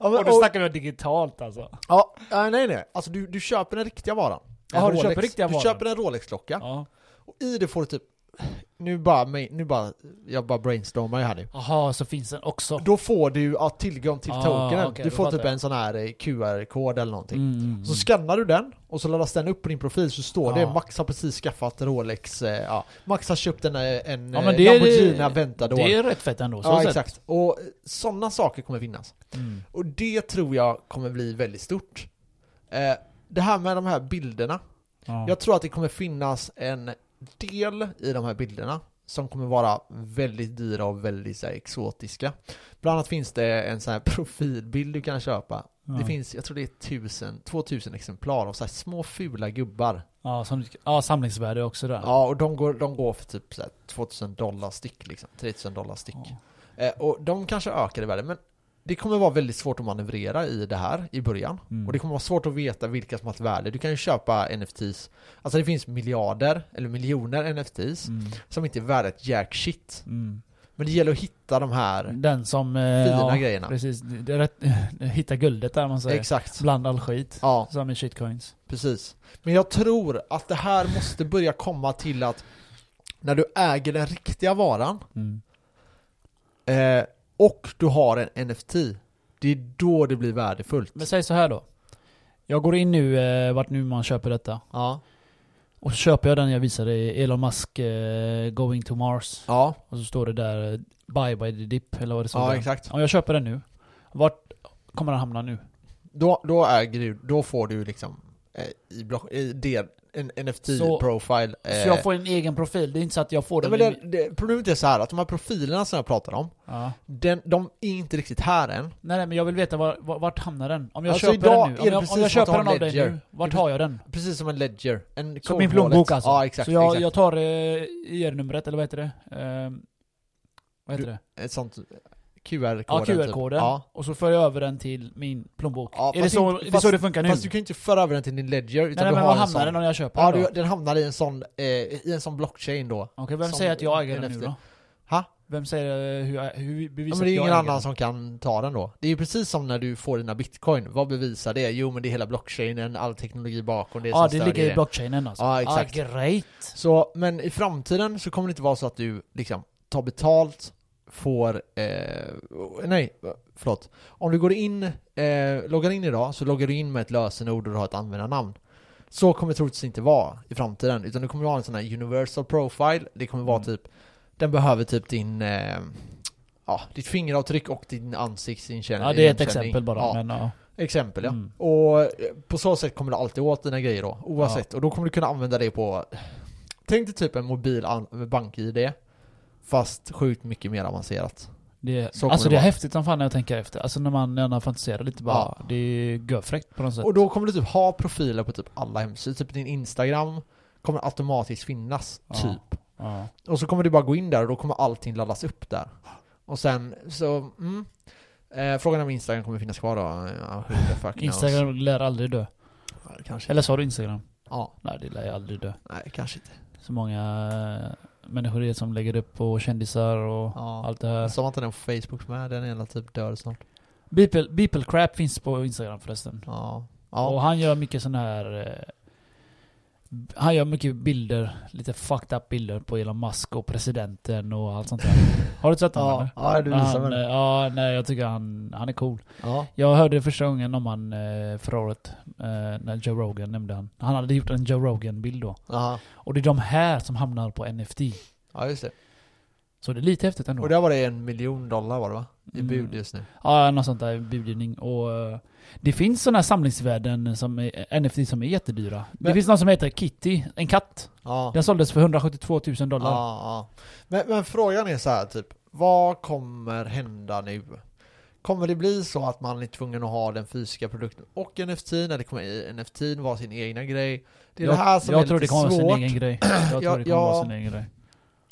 S1: men,
S2: Och då
S1: och,
S2: snackar vi om digitalt alltså.
S1: ja, ja, nej, nej. Alltså du, du köper den riktiga varan. En
S2: Jaha, du
S1: Rolex.
S2: köper riktiga varan.
S1: Du köper en Rolex-klocka.
S2: Ja.
S1: Och i det får du typ... Nu bara, mig- nu bara... Jag bara brainstormar ju här nu.
S2: Jaha, så finns den också.
S1: Då får du ja, tillgång till
S2: Ah,
S1: tokenen.
S2: okej,
S1: du
S2: då
S1: får
S2: fattar
S1: typ
S2: jag.
S1: en sån här eh, QR-kod eller någonting.
S2: Mm, mm,
S1: Så
S2: mm.
S1: skannar du den och så laddas den upp på din profil så står det
S2: Ja.
S1: Max har precis skaffat Rolex, eh, ja. Max har köpt en, eh, en
S2: Ja,
S1: ja,
S2: men det är-
S1: Lamborghini Aventador.
S2: Det är rätt fett ändå. Så
S1: ja,
S2: sett.
S1: exakt. Och sådana saker kommer finnas.
S2: Mm.
S1: Och det tror jag kommer bli väldigt stort. Eh, det här med de här bilderna.
S2: Ja.
S1: Jag tror att det kommer finnas en del i de här bilderna som kommer vara väldigt dyra och väldigt så här, exotiska. Bland annat finns det en sån här profilbild du kan köpa det
S2: Ja.
S1: finns, jag tror det är tusen, 2000 exemplar av så här små fula gubbar.
S2: Ja, som, ja samlingsvärde också där.
S1: Ja, och de går, de går för typ så här 2000 dollar styck liksom, 3000 dollar styck.
S2: Ja.
S1: Eh, och de kanske ökar i värde, men det kommer vara väldigt svårt att manövrera i det här i början.
S2: Mm.
S1: Och det kommer vara svårt att veta vilka som har ett värde. Du kan ju köpa NFTs, alltså det finns miljarder eller miljoner NFTs
S2: Mm.
S1: som inte är värda ett jack shit.
S2: Mm.
S1: Men det gäller att hitta de här
S2: Den som... eh,
S1: fina
S2: ja,
S1: grejerna.
S2: Precis, det är rätt, eh, hitta guldet där man säger.
S1: Exakt.
S2: Bland all skit.
S1: Ja.
S2: Som i shitcoins.
S1: Precis. Men jag tror att det här måste börja komma till att när du äger den riktiga varan
S2: Mm.
S1: eh, och du har en NFT, det är då det blir värdefullt.
S2: Men säg så här då. Jag går in nu, eh, vart nu man köper detta.
S1: Ja.
S2: Och så köper jag den jag visade i Elon Musk eh, Going to Mars.
S1: Ja,
S2: Och så står det där eh, Bye bye the dip eller vad det står
S1: ja
S2: där.
S1: exakt.
S2: Om jag köper den nu. Vart kommer den hamna nu?
S1: Då, då äger du, då får du liksom eh, i, block, i det, en
S2: Så-
S1: NFT-profile.
S2: Så jag får en egen profil. Det är inte så att jag får
S1: Nej,
S2: den.
S1: eh, men
S2: i min-
S1: det, det, problemet är så här att de här profilerna som jag pratar om,
S2: ja.
S1: den, de är inte riktigt här än.
S2: nej, nej men jag vill veta var, var, vart hamnar den? Om jag
S1: Alltså,
S2: köper
S1: idag
S2: den
S1: är
S2: nu. Om
S1: det
S2: jag, om
S1: precis
S2: jag
S1: som att
S2: köper den
S1: ha
S2: av dig
S1: ledger.
S2: nu. Vart har jag den?
S1: Precis som en ledger. En
S2: Så
S1: cold
S2: min plånbok
S1: wallet.
S2: alltså?
S1: Ja, exakt.
S2: så jag,
S1: exakt.
S2: jag tar eh, IR-numret, eller vad heter det? Eh, vad heter det?
S1: ett sånt QR-koden.
S2: Ja,
S1: typ.
S2: QR-koden.
S1: Ja.
S2: Och så för jag över den till min plånbok.
S1: Ja,
S2: är det
S1: fast
S2: så,
S1: inte-
S2: är det,
S1: fast-
S2: så det funkar nu?
S1: Fast du kan ju inte föra över den till din ledger
S2: nej,
S1: utan
S2: nej,
S1: du
S2: men
S1: har
S2: var
S1: en
S2: hamnar
S1: sån.
S2: den om jag köper
S1: Ja,
S2: den då?
S1: du, den hamnar i en sån, eh, i en sån blockchain då.
S2: Okej, vem
S1: som
S2: säger att jag äger den nu
S1: NFT.
S2: då?
S1: Ha?
S2: Vem säger eh, hur, jag- hur
S1: Ja,
S2: bevisar
S1: men det är ju
S2: att
S1: ingen
S2: jag äger
S1: annan
S2: den?
S1: som kan ta den då. Det är ju precis som när du får dina bitcoin. Vad bevisar det? Jo, men det är hela blockchainen, all teknologi bakom det
S2: Ja,
S1: som
S2: det
S1: stödjer
S2: ligger i
S1: det.
S2: blockchainen alltså.
S1: Ja, exakt.
S2: Ah, great.
S1: Så, men i framtiden så kommer det inte vara så att du liksom tar betalt, får, eh, nej, förlåt. Om du går in, eh, loggar in idag så loggar du in med ett lösenord och du har ett användarnamn. Så kommer det troligtvis inte vara i framtiden, utan du kommer ha en sån här universal profile. Det kommer vara
S2: Mm.
S1: typ, den behöver typ din, eh, ja, ditt fingeravtryck och din ansiktsigenkänning.
S2: Ja, det är ett exempel bara.
S1: Ja,
S2: Men, ja.
S1: Exempel ja.
S2: Mm.
S1: Och eh, på så sätt kommer du alltid åt dina grejer då, oavsett. Och då kommer du kunna använda det på... Tänk dig typ en mobil an- bank-id, fast sjukt mycket mer avancerat.
S2: Det,
S1: Så kommer
S2: alltså
S1: det
S2: det är
S1: vara.
S2: häftigt som fan när jag tänker efter. Alltså när man, när man fantiserar lite bara.
S1: Ja.
S2: Det är görfräckt på något sätt.
S1: Och då kommer du typ ha profiler på typ alla hemsidor. Typ din Instagram kommer automatiskt finnas,
S2: Ja.
S1: typ.
S2: Ja.
S1: Och så kommer du bara gå in där och då kommer allting laddas upp där. Och sen så, mm. Eh, frågan är om Instagram kommer finnas kvar då? Ja, who the fuck knows.
S2: Instagram lär aldrig dö.
S1: Ja, kanske.
S2: Eller sa du Instagram?
S1: Ja,
S2: Nej, det lär ju aldrig dö.
S1: nej kanske inte.
S2: Så många eh, människor det är som lägger upp på kändisar och
S1: Ja.
S2: allt det här.
S1: Som att den är på Facebook med, den är hela typ död snart.
S2: Beeple, Beeple Crap finns på Instagram förresten.
S1: Ja. Ja.
S2: Och han gör mycket sån här... eh, b- Han gör mycket bilder, lite fucked up bilder på Elon Musk och presidenten och allt sånt där. Har du sett honom
S1: ja.
S2: eller?
S1: ja, du visar
S2: Han,
S1: väl.
S2: eh, ja, nej jag tycker han, han är cool.
S1: Ja.
S2: Jag hörde första gången om han eh, förra året, eh, när Joe Rogan nämnde han. Han hade gjort en Joe Rogan-bild då.
S1: Aha.
S2: Och det är de här som hamnar på NFT.
S1: ja, just det.
S2: Så det är lite häftigt ändå.
S1: Och där var det en miljon dollar var det va? I
S2: Mm.
S1: bud just nu.
S2: Ja, något sånt där budgivning. Och eh, det finns sådana här samlingsvärden som är, NFT som är jättedyra.
S1: Men-
S2: det finns någon som heter Kitty, en katt.
S1: Ja.
S2: Den såldes för 172 000 dollar.
S1: Ja, ja. Men, men frågan är så här typ, vad kommer hända nu? Kommer det bli så att man är tvungen att ha den fysiska produkten och NFT eller kommer NFT vara sin egna grej? Det är
S2: jag
S1: det här som
S2: jag
S1: är
S2: tror
S1: lite
S2: det kommer
S1: svårt.
S2: vara sin egen grej. Jag tror det kommer
S1: ja.
S2: vara sin egen grej.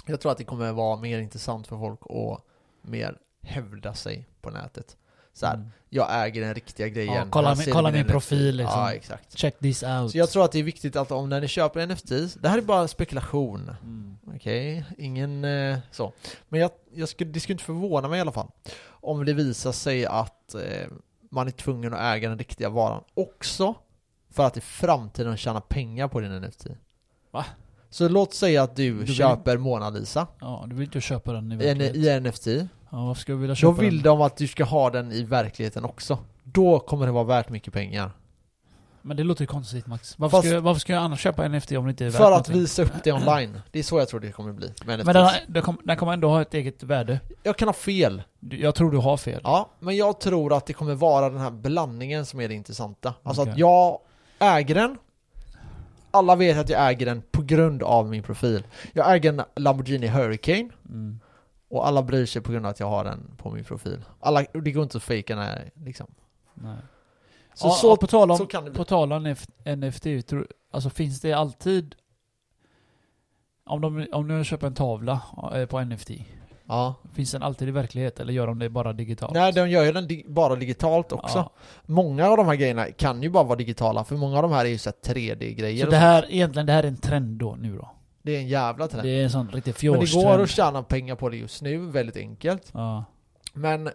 S1: Jag tror att det kommer vara mer intressant för folk att mer hävda sig på nätet. Så här,
S2: Mm.
S1: jag äger den riktiga grejen.
S2: Ja, kolla
S1: Här
S2: min-
S1: ser
S2: kolla
S1: ni
S2: min profil, liksom.
S1: Ja, exakt.
S2: Check this out.
S1: Så jag tror att det är viktigt att om när ni köper NFTs, det här är bara spekulation.
S2: Mm.
S1: Okej, ingen eh, så. Men jag, jag skulle, det skulle inte förvåna mig i alla fall om det visar sig att eh, man är tvungen att äga den riktiga varan också för att i framtiden tjäna pengar på din NFT.
S2: Va?
S1: Så låt säga att du,
S2: vill-
S1: köper Mona Lisa
S2: Ja, du vill inte köpa den i
S1: i en,
S2: verkligheten.
S1: i en NFT.
S2: Ja, varför ska jag vilja
S1: Då
S2: köpa
S1: vill
S2: den?
S1: de att du ska ha den i verkligheten också. Då kommer det vara värt mycket pengar.
S2: Men det låter ju konstigt Max. Varför,
S1: Fast-
S2: ska, jag, varför ska jag annars köpa NFT om det inte är värt
S1: För att
S2: någonting?
S1: visa upp det online. Det är så jag tror det kommer bli med NFTs.
S2: Men den, den, kommer, den kommer ändå ha ett eget värde.
S1: Jag kan ha fel.
S2: Du- Jag tror du har fel.
S1: Ja, men jag tror att det kommer vara den här blandningen som är det intressanta. Alltså att
S2: Okej.
S1: jag äger den. Alla vet att jag äger den på grund av min profil. Jag äger en Lamborghini Hurricane
S2: Mm.
S1: och alla bryr sig på grund av att jag har den på min profil. Alla, det går inte att fejka när liksom.
S2: Nej.
S1: Så,
S2: ja,
S1: så,
S2: ja, på tal om,
S1: så kan det bli.
S2: På tal om NF- NFT, tror, alltså finns det alltid... Om, de, om du köper en tavla eh, på NFT,
S1: Ja.
S2: finns den alltid i verklighet eller gör de det bara digitalt?
S1: Nej, de gör ju den dig- bara digitalt också.
S2: Ja.
S1: Många av de här grejerna kan ju bara vara digitala, för många av de här är ju så här 3D-grejer.
S2: Så
S1: och
S2: det
S1: så.
S2: här, egentligen det här är en trend då, nu då?
S1: det är en jävla trend.
S2: Det är en sån riktig
S1: Men det går
S2: fjolstrend.
S1: att tjäna pengar på det just nu, väldigt enkelt.
S2: Ja.
S1: Men eh,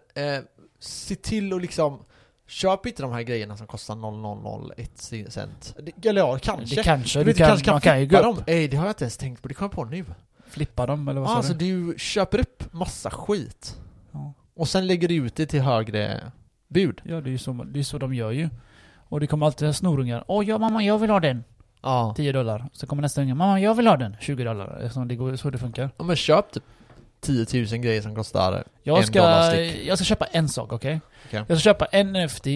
S1: se till att liksom Köp inte de här grejerna som kostar 0,001 cent. Det- Eller ja, kanske.
S2: Det kanske,
S1: du
S2: du
S1: vet,
S2: kan,
S1: kanske kan
S2: man kan ju gå
S1: flippa
S2: upp.
S1: dem. Ey, det har jag inte ens tänkt på. Det kommer jag på nu.
S2: Flippa dem eller vad
S1: Ah,
S2: sa
S1: alltså
S2: du?
S1: du köper upp massa skit.
S2: Ja.
S1: Och sen lägger du ut det till högre bud.
S2: Ja, det är ju så, det är så de gör ju. Och det kommer alltid här snorungar. Åh ja mamma, jag vill ha den.
S1: Ja.
S2: 10 dollar. Så kommer nästa unge. Mamma, jag vill ha den. 20 dollar. Eftersom det går så det funkar.
S1: ja men köp typ 10 000 grejer som kostar. En
S2: Jag
S1: dollar
S2: ska,
S1: styck.
S2: jag ska köpa en sak, okej?
S1: Okej.
S2: Jag ska köpa en NFT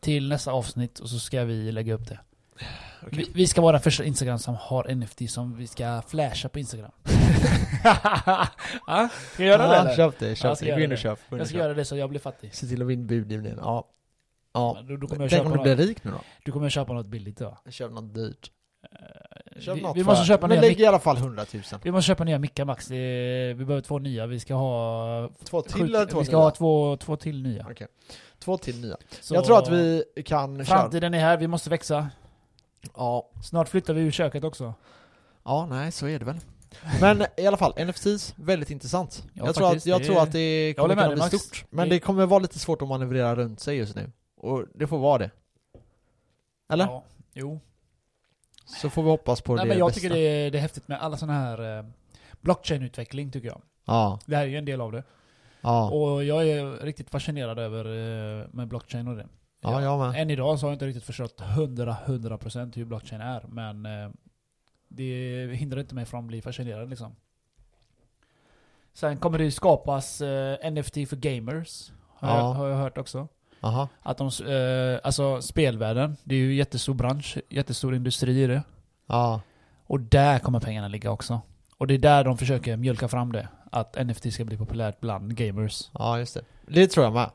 S2: till nästa avsnitt och så ska vi lägga upp det. Vi, vi ska vara den första Instagram som har NFT som vi ska flasha på Instagram. ja, ska jag göra det
S1: ja,
S2: eller?
S1: Köp det, köp
S2: Ja, ska
S1: det.
S2: jag
S1: Gå in
S2: göra
S1: och
S2: det?
S1: köp. Gå in
S2: Jag
S1: och
S2: ska
S1: köp.
S2: göra det så jag blir fattig.
S1: Se till att vinna budgivningen. Ja. Ja.
S2: Då, då kommer
S1: Tänk
S2: jag köpa
S1: om du
S2: något,
S1: blir rik nu då?
S2: du kommer köpa något billigt då.
S1: Köp något dyrt. Köp
S2: Eh, Vi,
S1: Eh, något
S2: vi
S1: för-
S2: måste köpa
S1: Men
S2: nya
S1: lägg i
S2: mick-
S1: alla fall 100 000.
S2: vi måste köpa nya mickar Max. Det är- Vi behöver två nya. Vi ska ha...
S1: Två till
S2: sjukt-
S1: eller två
S2: Vi ska
S1: nya?
S2: ha två, två till nya.
S1: Okej. Två till nya.
S2: Så
S1: Jag tror att vi kan köra.
S2: Framtiden är här, vi måste växa.
S1: Ja.
S2: Snart flyttar vi ur köket också.
S1: ja, nej så är det väl. Men i alla fall, NFTs, väldigt intressant.
S2: Ja,
S1: jag tror att,
S2: faktiskt,
S1: jag
S2: det-
S1: tror att det kommer
S2: håller med
S1: kunna bli
S2: dig, Max.
S1: stort. Men
S2: Det-
S1: det kommer vara lite svårt att manövrera runt sig just nu. Och det får vara det. Eller?
S2: Ja, jo.
S1: Så får vi hoppas på
S2: Nej,
S1: det
S2: men jag
S1: bästa.
S2: tycker det är, det är häftigt med alla sådana här eh, blockchain-utveckling tycker jag.
S1: Ja,
S2: Det här är ju en del av det.
S1: ja.
S2: Och jag är riktigt fascinerad över eh, med blockchain och det.
S1: Ja, jag med.
S2: Än idag så har jag inte riktigt förstått 100-100% hur blockchain är. Men eh, det hindrar inte mig från att bli fascinerad liksom. Sen kommer det ju skapas eh, NFT för gamers. Har,
S1: Ja.
S2: jag, har jag hört också.
S1: Aha.
S2: Att de, s- eh, alltså spelvärlden, det är ju jättestor bransch, jättestor industri i det.
S1: Ja.
S2: Och där kommer pengarna ligga också. Och det är där de försöker mjölka fram det. Att NFT ska bli populärt bland gamers.
S1: Ja, just det. Det tror jag med.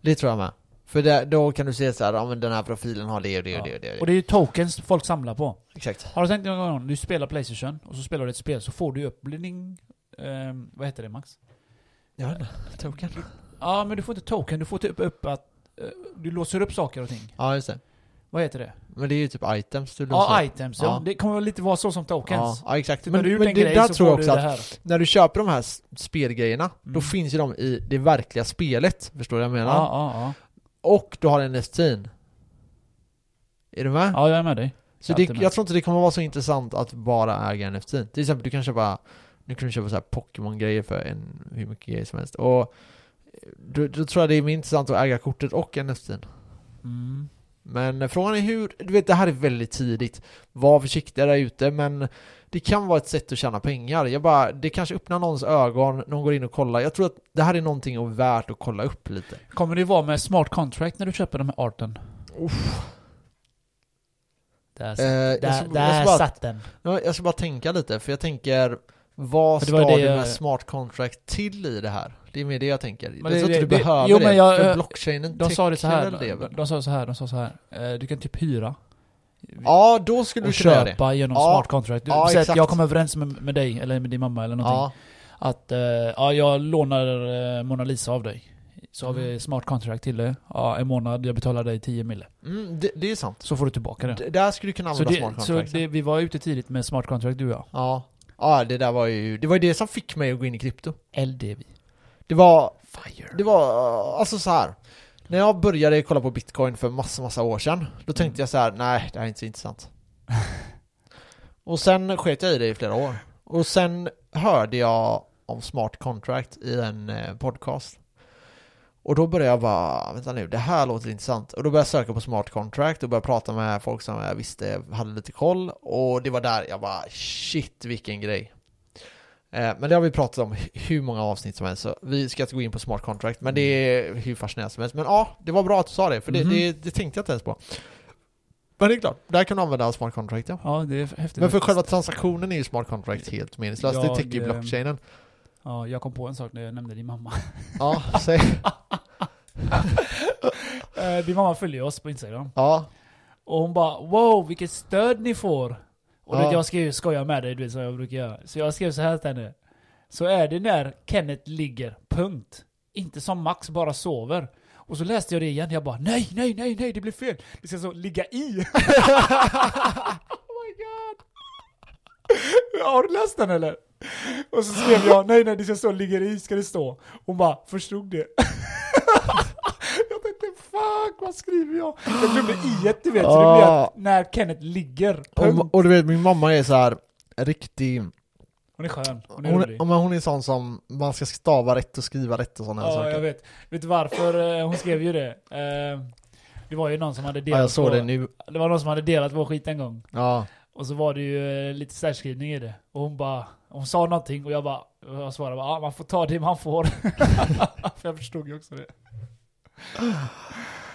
S1: Det tror jag med. För det, då kan du se så här, ja men den här profilen har det och det och
S2: Ja.
S1: det och det.
S2: Och det är ju tokens folk samlar på.
S1: Exakt.
S2: Har du tänkt någon gång, du spelar Playstation och så spelar du ett spel så får du ju upp bling, ehm, vad heter det Max?
S1: Ja, token.
S2: Ja men du får inte token, du får typ upp att eh, du låser upp saker och ting.
S1: Ja, just det.
S2: Vad heter det?
S1: Men det är ju typ items du
S2: Ja,
S1: låser.
S2: items ja.
S1: Ja.
S2: Det kommer väl lite vara så som tokens.
S1: Ja, ja, exakt.
S2: Men,
S1: Men,
S2: du
S1: men,
S2: gjorde en
S1: det
S2: grej
S1: där
S2: så
S1: tror jag
S2: får
S1: också
S2: du det
S1: att
S2: här.
S1: när du köper de här s- spelgrejerna, då
S2: Mm.
S1: finns ju de i det verkliga spelet. Förstår du vad jag
S2: Ja,
S1: menar?
S2: ja,
S1: Och du har NFT'n. Är du med?
S2: ja. ja, jag är med dig.
S1: Så
S2: Jag
S1: det,
S2: är alltid med.
S1: jag tror inte det kommer vara så intressant att bara äga NFT. Till exempel, du kan köpa, nu kan du köpa så här Pokémon-grejer för en, hur mycket grejer som helst. Och eh, då, då tror jag det är mer intressant att äga kortet och NFT'n.
S2: Mm.
S1: Men frågan är hur, du vet det här är väldigt tidigt. Var försiktiga där ute men det kan vara ett sätt att tjäna pengar. Jag bara, det kanske öppnar någons ögon, någon går in och kollar. Jag tror att det här är någonting och värt att kolla upp lite.
S2: Kommer det vara med smart contract när du köper de här arten? Där,
S1: Eh,
S2: satt-
S1: jag,
S2: Alltså, där,
S1: ska,
S2: där
S1: jag, ska bara,
S2: satt den.
S1: ja, jag ska bara tänka lite för jag tänker vad
S2: För det
S1: ska
S2: var det
S1: det
S2: jag-
S1: med smart contract till i det här? Det är mer det jag tänker. Men
S2: det-
S1: jag tror inte du
S2: det- det-
S1: behöver
S2: jo, men
S1: det.
S2: jag-
S1: för
S2: eh,
S1: blockchainen
S2: De sa det så
S1: täcker
S2: här.
S1: väl det,
S2: De,
S1: väl?
S2: de sa så här, de sa så här. Eh, du kan typ hyra.
S1: Ja, då skulle du
S2: och
S1: kunna göra det.
S2: köpa genom
S1: Ja.
S2: smart contract. Du,
S1: Ja,
S2: säg att
S1: exakt.
S2: jag kommer överens med, med dig eller med din mamma eller någonting.
S1: Ja,
S2: Att eh, ja, jag lånar eh, Mona Lisa av dig. Så har vi
S1: Mm.
S2: smart contract till det. Ja, en månad, jag betalar dig 10 mille.
S1: mm, det, det är sant.
S2: Så får du tillbaka det.
S1: D- där skulle du kunna
S2: Så,
S1: använda smart
S2: det, så
S1: contract.
S2: det, vi var ute tidigt med smart contract du och jag.
S1: Ja. Ja, det där var ju, det var ju det som fick mig att gå in i krypto.
S2: LDV.
S1: Det var,
S2: Fire.
S1: det var, eh, alltså så här. När jag började kolla på bitcoin för massa, massa år sedan, då tänkte
S2: Mm.
S1: jag så här: nej det här är inte så intressant. och sen sket jag i det i flera år. Och sen hörde jag om smart contract i en eh, podcast. Och då började jag bara, vänta nu, det här låter intressant. Och då började jag söka på smart contract och började prata med folk som jag visste hade lite koll. Och det var där jag bara, shit vilken grej. Eh, Men det har vi pratat om hu- hur många avsnitt som helst, så vi ska inte gå in på smart contract, men det är hur fascinerande som helst. Men ja, det var bra att du sa det, för det,
S2: Mhm.
S1: det, det tänkte jag inte ens på. Men det är klart, där kan du använda smart contract ja.
S2: Ja, det är häftigt.
S1: Men för själva transaktionen är ju smart contract helt meningslöst, det
S2: Jag,
S1: täcker ju
S2: eh,
S1: blockchainen.
S2: Ja, jag kom på en sak när jag nämnde din mamma.
S1: Ja, säg.
S2: Eh, din mamma följer oss på Instagram.
S1: Ja,
S2: Och hon bara wow vilket stöd ni får! Och du vet,
S1: Ja.
S2: jag ska ju skoja med dig du vet som jag brukar göra. Så jag skrev så här till henne. Så är det när Kenneth ligger, punkt. Inte som Max bara sover. Och så läste jag det igen, jag bara nej, nej, nej, nej det blev fel. Det ska så ligga i. oh my god! Har du läst den eller? Och så skrev jag nej, nej det ska stå ligger i, ska det stå. Hon bara förstod det. Jag tänkte fuck vad skriver jag? Jag glömde i du vet, så det blev
S1: Ah.
S2: att när Kenneth ligger. Punkt.
S1: och, och du vet min mamma är så här riktig,
S2: Hon är skön, hon är
S1: hon,
S2: rolig.
S1: är- men hon är sån som man ska stava rätt och skriva rätt och sådana här
S2: Ja,
S1: saker.
S2: jag vet. Vet du varför eh, hon skrev ju det? Eh, Det var ju någon som hade
S1: ja,
S2: delat
S1: jag såg
S2: vår,
S1: det nu.
S2: det var någon som hade delat vår skit en gång.
S1: Ja,
S2: Och så var det ju eh, lite särskrivning i det. Och hon bara, hon sa någonting och jag bara, och jag svarade bara, ja man får ta det man får. För jag förstod ju också det. Ja,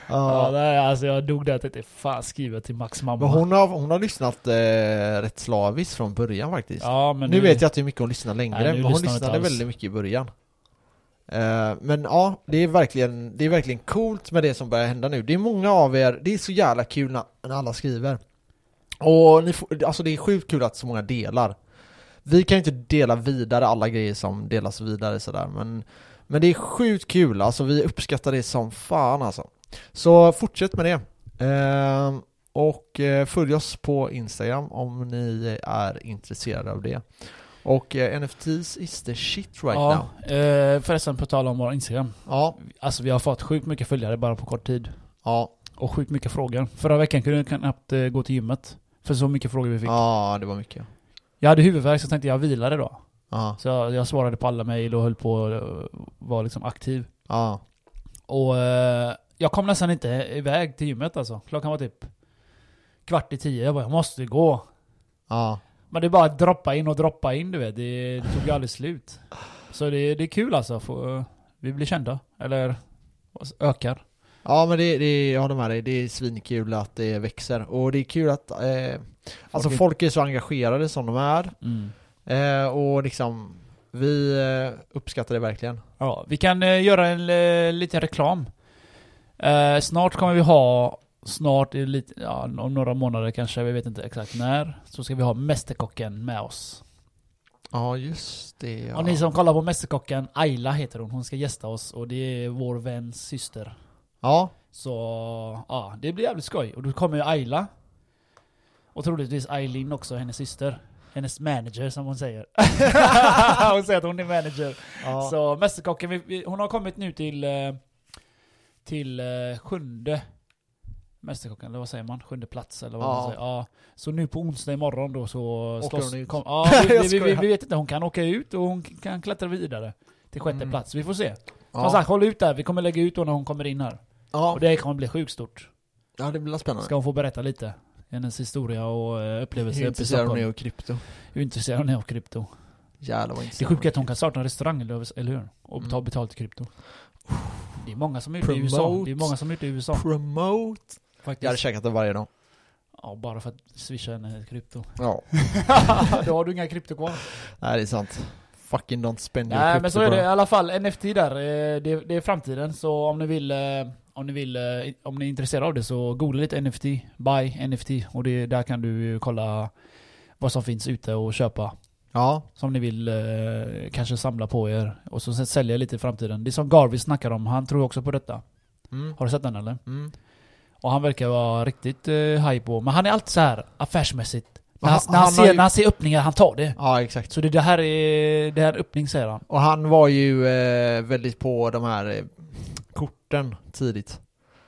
S1: ja.
S2: nej, alltså jag dog där och tänkte, fan skriver jag till Max mamma?
S1: Men hon har, hon har lyssnat eh, rätt slaviskt från början faktiskt.
S2: ja, men
S1: nu vet jag inte hur mycket hon lyssnar
S2: Nej, nu
S1: längre, men hon
S2: lyssnar hon inte
S1: lyssnade
S2: alls.
S1: väldigt mycket i början. Eh, men ja, det är, verkligen, det är verkligen coolt med det som börjar hända nu. Det är många av er, det är så jävla kul när, när alla skriver. Och ni får, alltså det är sjukt kul att så många delar. Vi kan ju inte dela vidare alla grejer som delas vidare sådär, men, men det är sjukt kul. Alltså vi uppskattar det som fan alltså. Så fortsätt med det. Eh, och eh, följ oss på Instagram om ni är intresserade av det. Och eh, NFTs is the shit right now.
S2: ja, eh, förresten på tal om vår Instagram.
S1: Ja,
S2: Alltså vi har fått sjukt mycket följare bara på kort tid.
S1: ja,
S2: Och sjukt mycket frågor. Förra veckan kunde jag knappt eh, gå till gymmet. För så mycket frågor vi fick.
S1: ja, det var mycket.
S2: Jag hade huvudvärk så tänkte jag vilade då.
S1: Ja,
S2: Så jag, jag svarade på alla mejl och höll på att eh, vara liksom aktiv.
S1: ja,
S2: Och eh, jag kom nästan inte iväg till gymmet alltså. Klockan var typ kvart i tio. Jag bara, jag måste gå.
S1: ja.
S2: Men det är bara att droppa in och droppa in du vet. Det, det tog ju aldrig slut. Så det, det är kul alltså. Få, eh, vi blir kända. Eller ökar.
S1: Ja men det, det jag håller med dig, det är svinkul att det växer. Och det är kul att eh, alltså
S2: är-
S1: folk är så engagerade som de är. Eh, och liksom, vi eh, uppskattar det verkligen.
S2: Ja, vi kan eh, göra en eh, liten reklam. Eh, snart kommer vi ha, snart är lite, ja, om några månader kanske, vi vet inte exakt när, så ska vi ha Mästerkocken med oss.
S1: Ja, just det. Ja.
S2: Och ni som kollar på Mästerkocken, Ayla heter hon, hon ska gästa oss och det är vår väns syster.
S1: Ja,
S2: Så ja, det blir jävligt skoj. Och då kommer ju Ayla. Och troligtvis Eileen också, hennes syster. Hennes manager som hon säger. hon säger att hon är manager.
S1: ja.
S2: Så Mästerkocken, vi, vi, hon har kommit nu till, eh, till eh, sjunde Mästerkocken, eller vad säger man? Sjunde plats eller vad
S1: Ja.
S2: man säger. Ja. Så nu på onsdag imorgon då så
S1: Åker
S2: slåss...
S1: hon ut.
S2: Kom, ja, vi,
S1: Jag
S2: vi, vi,
S1: skojar.
S2: vi vet inte, hon kan åka ut och hon kan klättra vidare till sjätte
S1: Mm.
S2: plats. Vi får se. Som
S1: ja.
S2: sagt, håll ut där. Vi kommer lägga ut då när hon kommer in här.
S1: Ja.
S2: Och det kommer bli sjukt stort.
S1: ja, det blir spännande.
S2: Ska hon få berätta lite? Hennes historia och eh, upplevelser
S1: Hur
S2: uppe i
S1: intresserad hon är
S2: Stockholm.
S1: av krypto.
S2: Hur intresserad hon är av krypto.
S1: Jävlar vad
S2: Det
S1: intresserad
S2: sjuka är att hon kan starta en restaurang, eller eller hur? Och ta
S1: Mm.
S2: betalt i krypto. Det är många som är ute i USA.
S1: Promote.
S2: Det är många som är ute i USA.
S1: Promote. Jag hade
S2: Faktiskt.
S1: käkat det varje dag.
S2: Ja, bara för att swisha henne krypto.
S1: Ja.
S2: Då har du inga krypto kvar.
S1: Nej, det är sant. Fucking don't spend your
S2: Nej
S1: crypto
S2: men så är det i
S1: bro.
S2: alla fall, NFT där, eh, det, det är framtiden så om ni vill eh, om ni, vill, eh, om ni är intresserade av det så googla lite NFT, buy NFT och det, där kan du ju kolla vad som finns ute och köpa
S1: Ja,
S2: som ni vill eh, kanske samla på er och så sen sälja lite i framtiden. Det är som Garvey snackar om, han tror också på detta.
S1: mm.
S2: Har du sett den eller?
S1: Mm.
S2: Och han verkar vara riktigt eh, high på, men han är alltid så här affärsmässigt. När han,
S1: Han-
S2: när, han
S1: han har
S2: ser,
S1: ju-
S2: när han ser öppningar, han tar det.
S1: ja exakt.
S2: Så det, det här är, det här är öppning säger han.
S1: Och han var ju eh, väldigt på de här eh, korten tidigt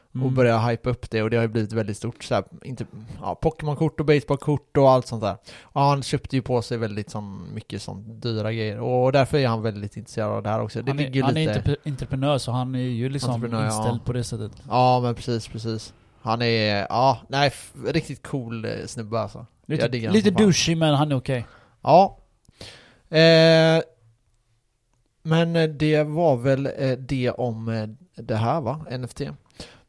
S1: och
S2: Mm.
S1: började hypa upp det och det har ju blivit väldigt stort. Så här, inte, ja, Pokémon-kort och baseballkort och allt sånt där. Och han köpte ju på sig väldigt sån, mycket sånt dyra grejer och därför är han väldigt intresserad av det här också. Det
S2: han
S1: ligger
S2: är, han
S1: lite...
S2: är entrep- entreprenör så han är ju liksom
S1: Entreprenör, ja.
S2: inställd på det sättet.
S1: Ja men precis, precis. Han är, ja, nej, f- riktigt cool eh, snubbe alltså.
S2: Lite,
S1: Jag diggar
S2: lite
S1: honom som fan.
S2: douchey men han är okej.
S1: Ja. Eh, men eh, det var väl eh, det om eh, det här va? NFT.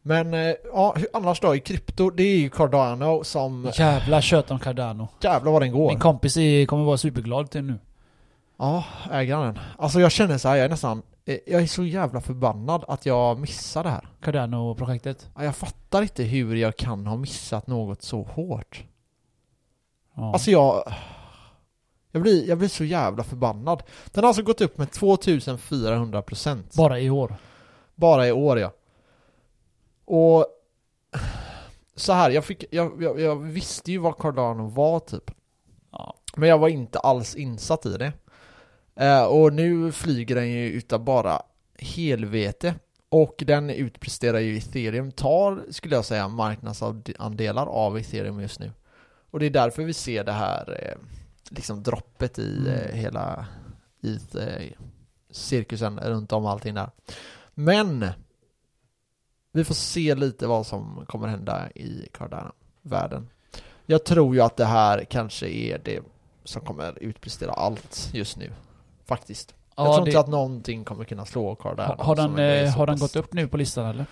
S1: Men eh, ja, hur- annars då i krypto, det är ju Cardano som,
S2: Jävla tjöt om Cardano.
S1: jävlar vad den går.
S2: Min kompis är, kommer vara superglad till nu.
S1: Ja, äger han den. Alltså jag känner så här, jag är nästan, eh, jag är så jävla förbannad att jag missar det här.
S2: Cardano-projektet.
S1: Ja, Jag fattar inte hur jag kan ha missat något så hårt.
S2: Ja.
S1: Alltså jag... Jag blir, jag blir så jävla förbannad. Den har alltså gått upp med 2400%
S2: Bara i år.
S1: bara i år ja. Och så här, jag, fick, jag, jag, jag visste ju vad Cardano var typ.
S2: Ja.
S1: Men jag var inte alls insatt i det. Eh, och nu flyger den ju utav bara helvete. Och den utpresterar ju ethereum, tar skulle jag säga marknadsandelar av ethereum just nu. Och det är därför vi ser det här eh, liksom droppet i
S2: Mm.
S1: eh, hela i, eh, cirkusen runt om allting där. Men vi får se lite vad som kommer hända i Cardano-världen. Jag tror ju att det här kanske är det som kommer utprestera allt just nu. Faktiskt.
S2: Ja,
S1: jag tror
S2: det-
S1: inte att någonting kommer kunna slå Cardano.
S2: har, har, den,
S1: som är
S2: eh,
S1: så
S2: har den
S1: pass-
S2: gått upp nu på listan eller?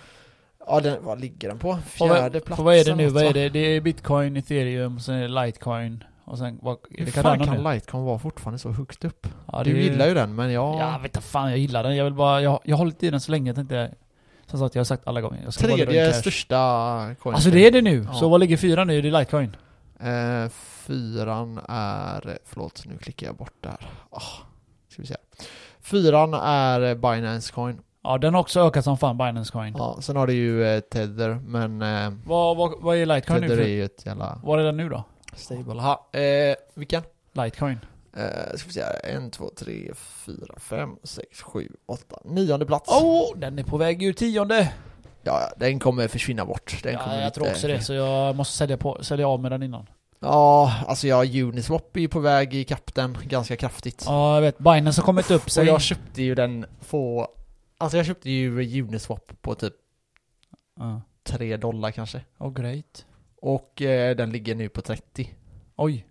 S1: Ja, den, vad ligger den på?
S2: Och vad-
S1: Fjärde plats?
S2: och Vad är det
S1: eller
S2: nu?
S1: något,
S2: Vad
S1: va?
S2: är det? Det är bitcoin, ethereum, sen är det litecoin. Och sen vad, är
S1: Hur
S2: det
S1: fan
S2: Cardano
S1: kan
S2: nu?
S1: Litecoin vara fortfarande så högt upp?
S2: Ja,
S1: Du
S2: det-
S1: gillar ju den, men jag...
S2: Ja, vet du fan jag gillar den. Jag vill bara, jag, jag har hållit i den så länge jag tänkte... Som sagt, jag har sagt alla gånger. Jag ska bara dra in
S1: Tredje
S2: cash.
S1: största coin.
S2: Alltså det är det nu.
S1: Ja.
S2: Så vad ligger fyra nu? Det är Litecoin.
S1: Eh, fyran är, förlåt nu klickar jag bort där. Ah, ska vi se. Fyran är eh, Binance coin.
S2: Ja, den har också ökat som fan, Binance coin.
S1: Ja, sen har du ju eh, Tether, men eh,
S2: Vad, vad, vad är Litecoin nu?
S1: Tether är
S2: För,
S1: ju ett jävla...
S2: vad är den nu då?
S1: Stable. Ha, eh, vilken?
S2: Litecoin.
S1: Eh, ska vi se här. En, två, tre, fyra, fem, sex, sju, åtta. Nionde plats.
S2: Oh, den är på väg ur tionde!
S1: Ja, ja, den kommer försvinna bort. Den
S2: Ja,
S1: kommer
S2: jag
S1: lite-
S2: tror också det, så jag måste sälja, på, sälja av med den innan.
S1: Ja, alltså ja, Uniswap är ju på väg i kapp den ganska kraftigt.
S2: Ja, jag vet. Binance har kommit upp
S1: Och
S2: sig.
S1: jag köpte ju den på... Alltså jag köpte ju Uniswap på typ
S2: Ja.
S1: 3 dollar kanske.
S2: Oh, great.
S1: Och eh, den ligger nu på 30.
S2: Oj.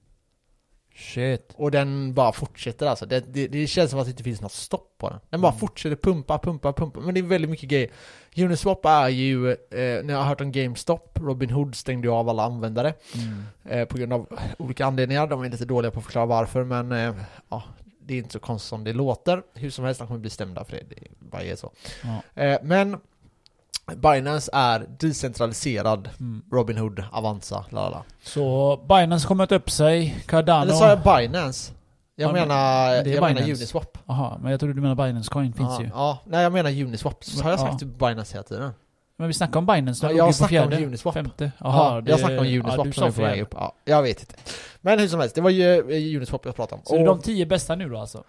S2: Shit.
S1: Och den bara fortsätter alltså. Det, det, det känns som att det inte finns något stopp på den. Den bara
S2: Mm.
S1: fortsätter pumpa, pumpa, pumpa. Men det är väldigt mycket grejer. Uniswap är ju, eh, ni har hört om GameStop, Robin Hood stängde ju av alla användare
S2: Mm.
S1: eh, på grund av olika anledningar. De är lite dåliga på att förklara varför, men eh, ja, det är inte så konstigt som det låter. Hur som helst, de kommer bli stämda för det. Det bara är så.
S2: Ja.
S1: Eh, men Binance är decentraliserad
S2: Mm.
S1: Robin Hood, Avanza, lalala.
S2: Så Binance kommer att upp sig, Cardano...
S1: Eller sa jag Binance? Jag
S2: Ja, men-
S1: menar,
S2: det
S1: jag
S2: är
S1: menar
S2: Binance.
S1: Uniswap.
S2: Aha, men jag trodde du menade Binance coin finns
S1: ja,
S2: ju.
S1: ja, nej jag menar Uniswap. Så har jag
S2: Ja.
S1: sagt Binance hela tiden.
S2: Men vi snackar om Binance,
S1: Ja,
S2: du
S1: jag
S2: ligger på
S1: snackar om
S2: fjärde,
S1: Uniswap.
S2: Femte?
S1: Aha,
S2: Jaha,
S1: jag snackar om Uniswap som
S2: du sa
S1: är på väg
S2: fjärde.
S1: upp. Ja, jag vet inte. Men hur som helst, det var ju eh, Uniswap jag pratade om.
S2: Så det är
S1: Och-
S2: de tio bästa nu då alltså?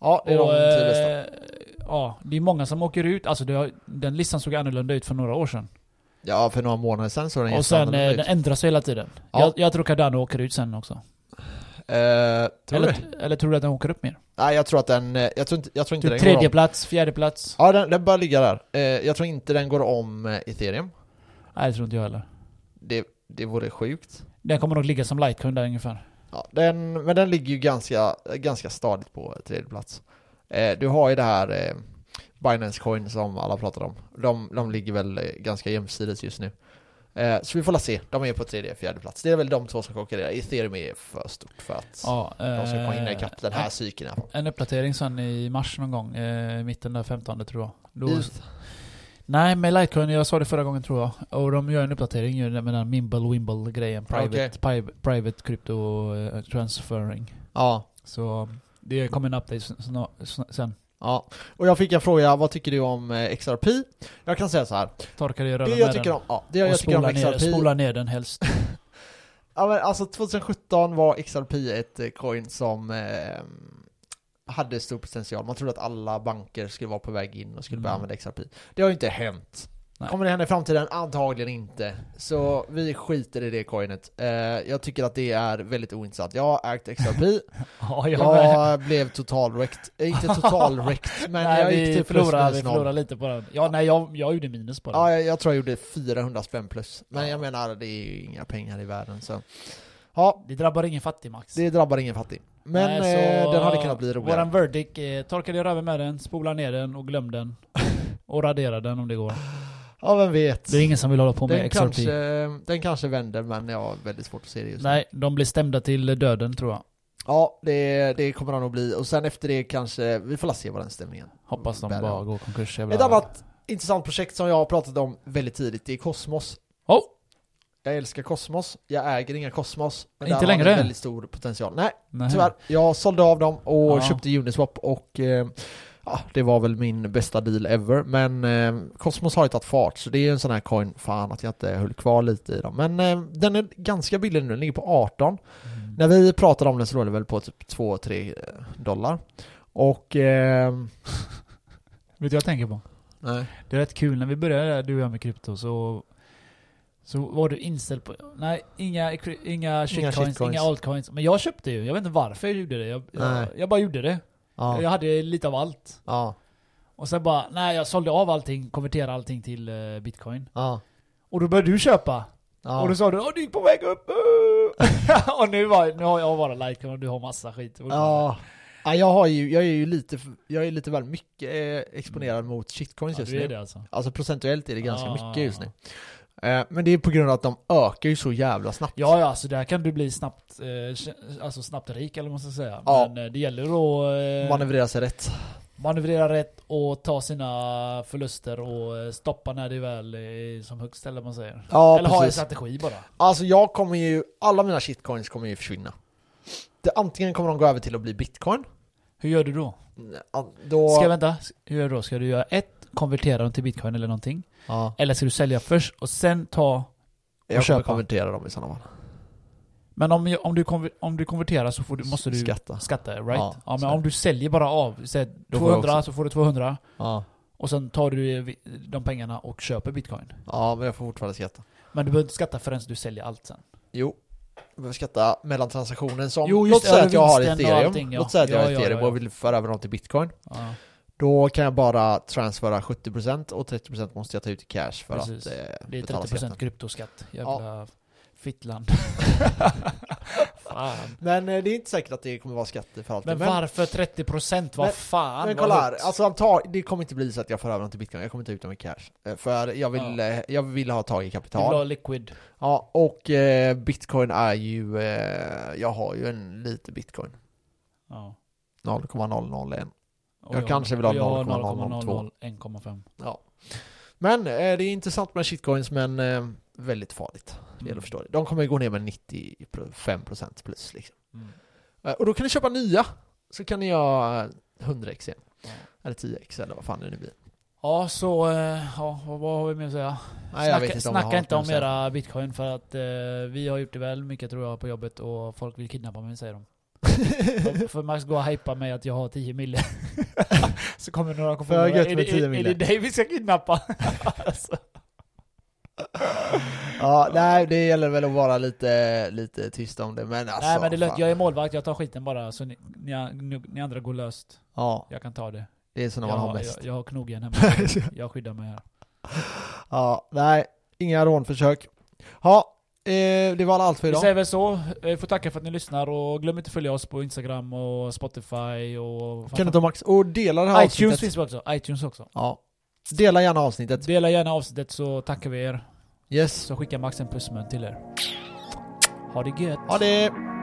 S1: ja, det är de tio bästa.
S2: eh, Ja, det är många som åker ut. Alltså det har, den listan såg annorlunda ut för några år sedan.
S1: Ja, för några månader sedan så var den
S2: Och sen eh,
S1: jätteannorlunda
S2: den
S1: ut.
S2: ändras hela tiden.
S1: Ja.
S2: Jag, jag tror Cardano åker ut sen också.
S1: Eh, tror du?
S2: Eller, eller tror du att den åker upp mer?
S1: Nej, jag tror att den... eh, Jag tror inte, jag tror inte
S2: Typ
S1: den går
S2: tredje
S1: om.
S2: plats, fjärde plats?
S1: Ja, den, den bör ligga där. Eh, jag tror inte den går om eh, ethereum.
S2: Nej, det tror inte jag heller.
S1: Det, det vore sjukt.
S2: Den kommer nog ligga som lightcoin där ungefär.
S1: Ja, den, men den ligger ju ganska, ganska stadigt på tredje plats. Eh, du har ju det här eh, Binance Coin som alla pratar om. De, de ligger väl eh, ganska jämsides just nu. Eh, så vi får la se. De är på tredje, fjärde plats. Det är väl de två som konkurrerar. Ethereum är för stort för att
S2: Ja,
S1: de ska komma in
S2: eh,
S1: ikapp den här cykeln. i alla fall.
S2: En uppdatering sen i mars någon gång, eh, mitten där 15 tror jag. Då,
S1: ETH.
S2: nej, med Litecoin, jag sa det förra gången tror jag. Och de gör en uppdatering ju med den här Mimble Wimble grejen. Private, pi- private crypto eh, transferring.
S1: Ja,
S2: Så det kommer en update snar, snar, sen.
S1: ja. Och jag fick en fråga, vad tycker du om eh, XRP? Jag kan säga så här.
S2: Torkar i röven
S1: Det jag
S2: med
S1: tycker
S2: den.
S1: om, ja, det jag
S2: och
S1: tycker
S2: spola
S1: om
S2: ner,
S1: XRP
S2: spola ner den helst.
S1: Ja men alltså 2017 var XRP ett eh, coin som eh, hade stor potential. Man trodde att alla banker skulle vara på väg in och skulle börja
S2: Mm.
S1: använda XRP. Det har ju inte hänt.
S2: Nej.
S1: Kommer det hända i framtiden? Antagligen inte. Så vi skiter i det coinet. Eh, jag tycker att det är väldigt ointressant. Jag har ägt XRP,
S2: ja, jag med.
S1: jag blev totalwräckt. Eh, Inte totalwräckt, men jag
S2: nej,
S1: gick
S2: vi
S1: till plus
S2: förlorade, vi
S1: minus noll.
S2: förlorade lite på den. Ja, nej, jag, jag gjorde minus på den.
S1: Ja, jag, jag tror jag gjorde 400 spänn plus. Men
S2: Ja.
S1: jag menar, det är ju inga pengar i världen så. Ja,
S2: Det drabbar ingen fattig Max.
S1: Det drabbar ingen fattig. Men
S2: Nej, så
S1: eh, den hade kunnat bli roligare.
S2: Våran verdict är, torka dig i röven med den, spola ner den och glöm den. och radera den om det går.
S1: Ja, vem vet.
S2: Det är ingen som vill hålla på med
S1: Den
S2: XRP.
S1: kanske, den kanske vänder, men jag har väldigt svårt att se det just nu.
S2: Nej, de blir stämda till döden tror jag.
S1: Ja, det, det kommer han nog bli. Och sen efter det kanske, vi får la se vad den stämningen.
S2: Hoppas de
S1: Bär
S2: bara
S1: det.
S2: går konkurs. jävla-
S1: Ett annat intressant projekt som jag har pratat om väldigt tidigt, det är Kosmos.
S2: Oh!
S1: Jag älskar Kosmos, jag äger inga Kosmos. Men
S2: Inte
S1: där har
S2: längre?
S1: de väldigt stor potential. Nej,
S2: Nej.
S1: tyvärr. Jag sålde av dem och
S2: Ja.
S1: köpte Uniswap och eh, ja, det var väl min bästa deal ever. Men eh, Cosmos har ju tagit fart så det är ju en sån här coin, fan att jag inte höll kvar lite i dem. Men eh, den är ganska billig nu, den ligger på 18.
S2: Mm.
S1: När vi pratade om den så låg den väl på typ 2-3 dollar. Och... Eh,
S2: Vet du vad jag tänker på?
S1: nej.
S2: Det är rätt kul, när vi började där, du och jag med krypto så så var du inställd på, nej inga, inga shitcoins, inga,
S1: shitcoins.
S2: altcoins. Men jag köpte ju, jag vet inte varför jag gjorde det. Jag,
S1: Nej.
S2: jag, jag bara gjorde det.
S1: Ja,
S2: Jag hade lite av allt.
S1: ja,
S2: Och sen bara, nej jag sålde av allting, konverterade allting till eh, bitcoin.
S1: ja.
S2: Och då började du köpa. Och
S1: Ja,
S2: då sa du, åh du är på väg upp! uh." och nu, var, nu har jag bara likecoin och du har massa skit.
S1: ja. ja jag, har ju, jag är ju lite, jag är lite väl mycket eh, exponerad mot shitcoins
S2: Mm.
S1: just
S2: ja, du är
S1: nu.
S2: det alltså.
S1: Alltså procentuellt är det ganska
S2: Ah.
S1: mycket just nu. Eh, Men det är på grund av att de ökar ju så jävla snabbt.
S2: Ja, ja, så där kan du bli snabbt, eh, kä- alltså snabbt rik eller vad man ska säga.
S1: Ja.
S2: Men eh, det gäller att eh,
S1: Manövrera sig rätt.
S2: manövrera rätt och ta sina förluster och eh, stoppa när det väl är som högst eller vad man säger.
S1: Ja,
S2: eller ha en
S1: precis.
S2: strategi bara.
S1: Alltså jag kommer ju, alla mina shitcoins kommer ju försvinna. Det, antingen kommer de gå över till att bli bitcoin.
S2: Hur gör du då?
S1: Ja, Då...
S2: Ska, vänta, hur gör du då? Ska du göra ett, konvertera dem till bitcoin eller någonting?
S1: ja,
S2: Eller ska du sälja först och sen ta...
S1: jag kommer
S2: köpa.
S1: konvertera dem i sådana fall.
S2: Men om, jag- om, du, konver, om du konverterar så får du, måste du
S1: Skatta.
S2: skatta, right?
S1: Ja,
S2: Ja,
S1: så
S2: men
S1: är
S2: om du säljer bara av, säg
S1: Då får jag
S2: 200 så får du 200
S1: Ja.
S2: och sen tar du eh, vi- de pengarna och köper bitcoin.
S1: ja, men jag får fortfarande skatta.
S2: Men du behöver inte skatta förrän du säljer allt sen.
S1: Jo. Jag behöver skatta mellan transaktionen som...
S2: Jo, just
S1: låt
S2: det,
S1: säga
S2: över
S1: att jag har
S2: vinsten och
S1: ethereum.
S2: allting, ja.
S1: Låt säga att jag
S2: Ja,
S1: har
S2: ja,
S1: ethereum
S2: ja, ja.
S1: och vill föra över dem till bitcoin.
S2: Ja.
S1: Då kan jag bara transfera 70% och 30% måste jag ta ut i cash för
S2: Precis.
S1: att eh,
S2: Det är
S1: betala
S2: 30%
S1: skatten.
S2: kryptoskatt. Jävla fittland. fan.
S1: Men eh, det är inte säkert att det kommer vara skatter för alltid.
S2: Men varför 30%? Vad
S1: Men-
S2: fan?
S1: men
S2: vad
S1: kolla här,
S2: högt.
S1: alltså antag, det kommer inte bli så att jag för över dem till bitcoin, jag kommer ta ut dem i cash. Eh, För jag vill, eh, jag vill ha tag i
S2: Du vill
S1: kapital.
S2: ha liquid.
S1: Ja, och eh, bitcoin är ju, eh, jag har ju en lite bitcoin.
S2: Ja.
S1: 0,001.
S2: Och
S1: Jag kanske vill ha
S2: och jag har
S1: 0,002.
S2: 0,001,5.
S1: Ja. Men eh, det är intressant med shitcoins, men eh, väldigt farligt. Det gäller att förstå det. De kommer ju gå ner med 95% plus liksom.
S2: Mm.
S1: Eh, Och då kan ni köpa nya, så kan ni göra 100x igen.
S2: Ja.
S1: Eller 10x eller vad fan det nu blir.
S2: Ja, så eh, ja, vad, vad har vi mer att säga?
S1: Nej, jag
S2: snacka
S1: vet inte om jag
S2: snacka
S1: har
S2: inte
S1: något
S2: om
S1: mer att
S2: era bitcoin för att eh, vi har gjort det väl mycket tror jag på jobbet och folk vill kidnappa mig säger de. för, för Max går och hypar mig att jag har 10 mille. så kommer några komma
S1: För
S2: och bara,
S1: gött
S2: "Är
S1: med
S2: det-
S1: 10
S2: är-
S1: mille."
S2: Är det dig vi ska kidnappa? alltså,
S1: Ja, nej, det gäller väl att vara lite, lite tyst om det, men alltså...
S2: nej men det är lugnt,
S1: fan.
S2: jag är målvakt, jag tar skiten bara så ni, ni, ni, ni andra går löst.
S1: Ja,
S2: Jag kan ta det.
S1: det är så när
S2: jag,
S1: man har mest.
S2: jag, jag har knogjärn hemma. jag skyddar mig här.
S1: Ja, nej, inga rånförsök. Ja, eh, det var allt för
S2: Vi
S1: idag.
S2: säger väl så. Eh, Vi får tacka för att ni lyssnar och glöm inte att följa oss på Instagram och Spotify och...
S1: Kan du ta Max och dela det här
S2: iTunes
S1: avsnittet?
S2: finns vi också. iTunes också.
S1: Ja. Dela gärna avsnittet.
S2: Dela gärna avsnittet så tackar vi er.
S1: Yes.
S2: Så skickar Max en pussmun till er. Ha det gött.
S1: Ha det!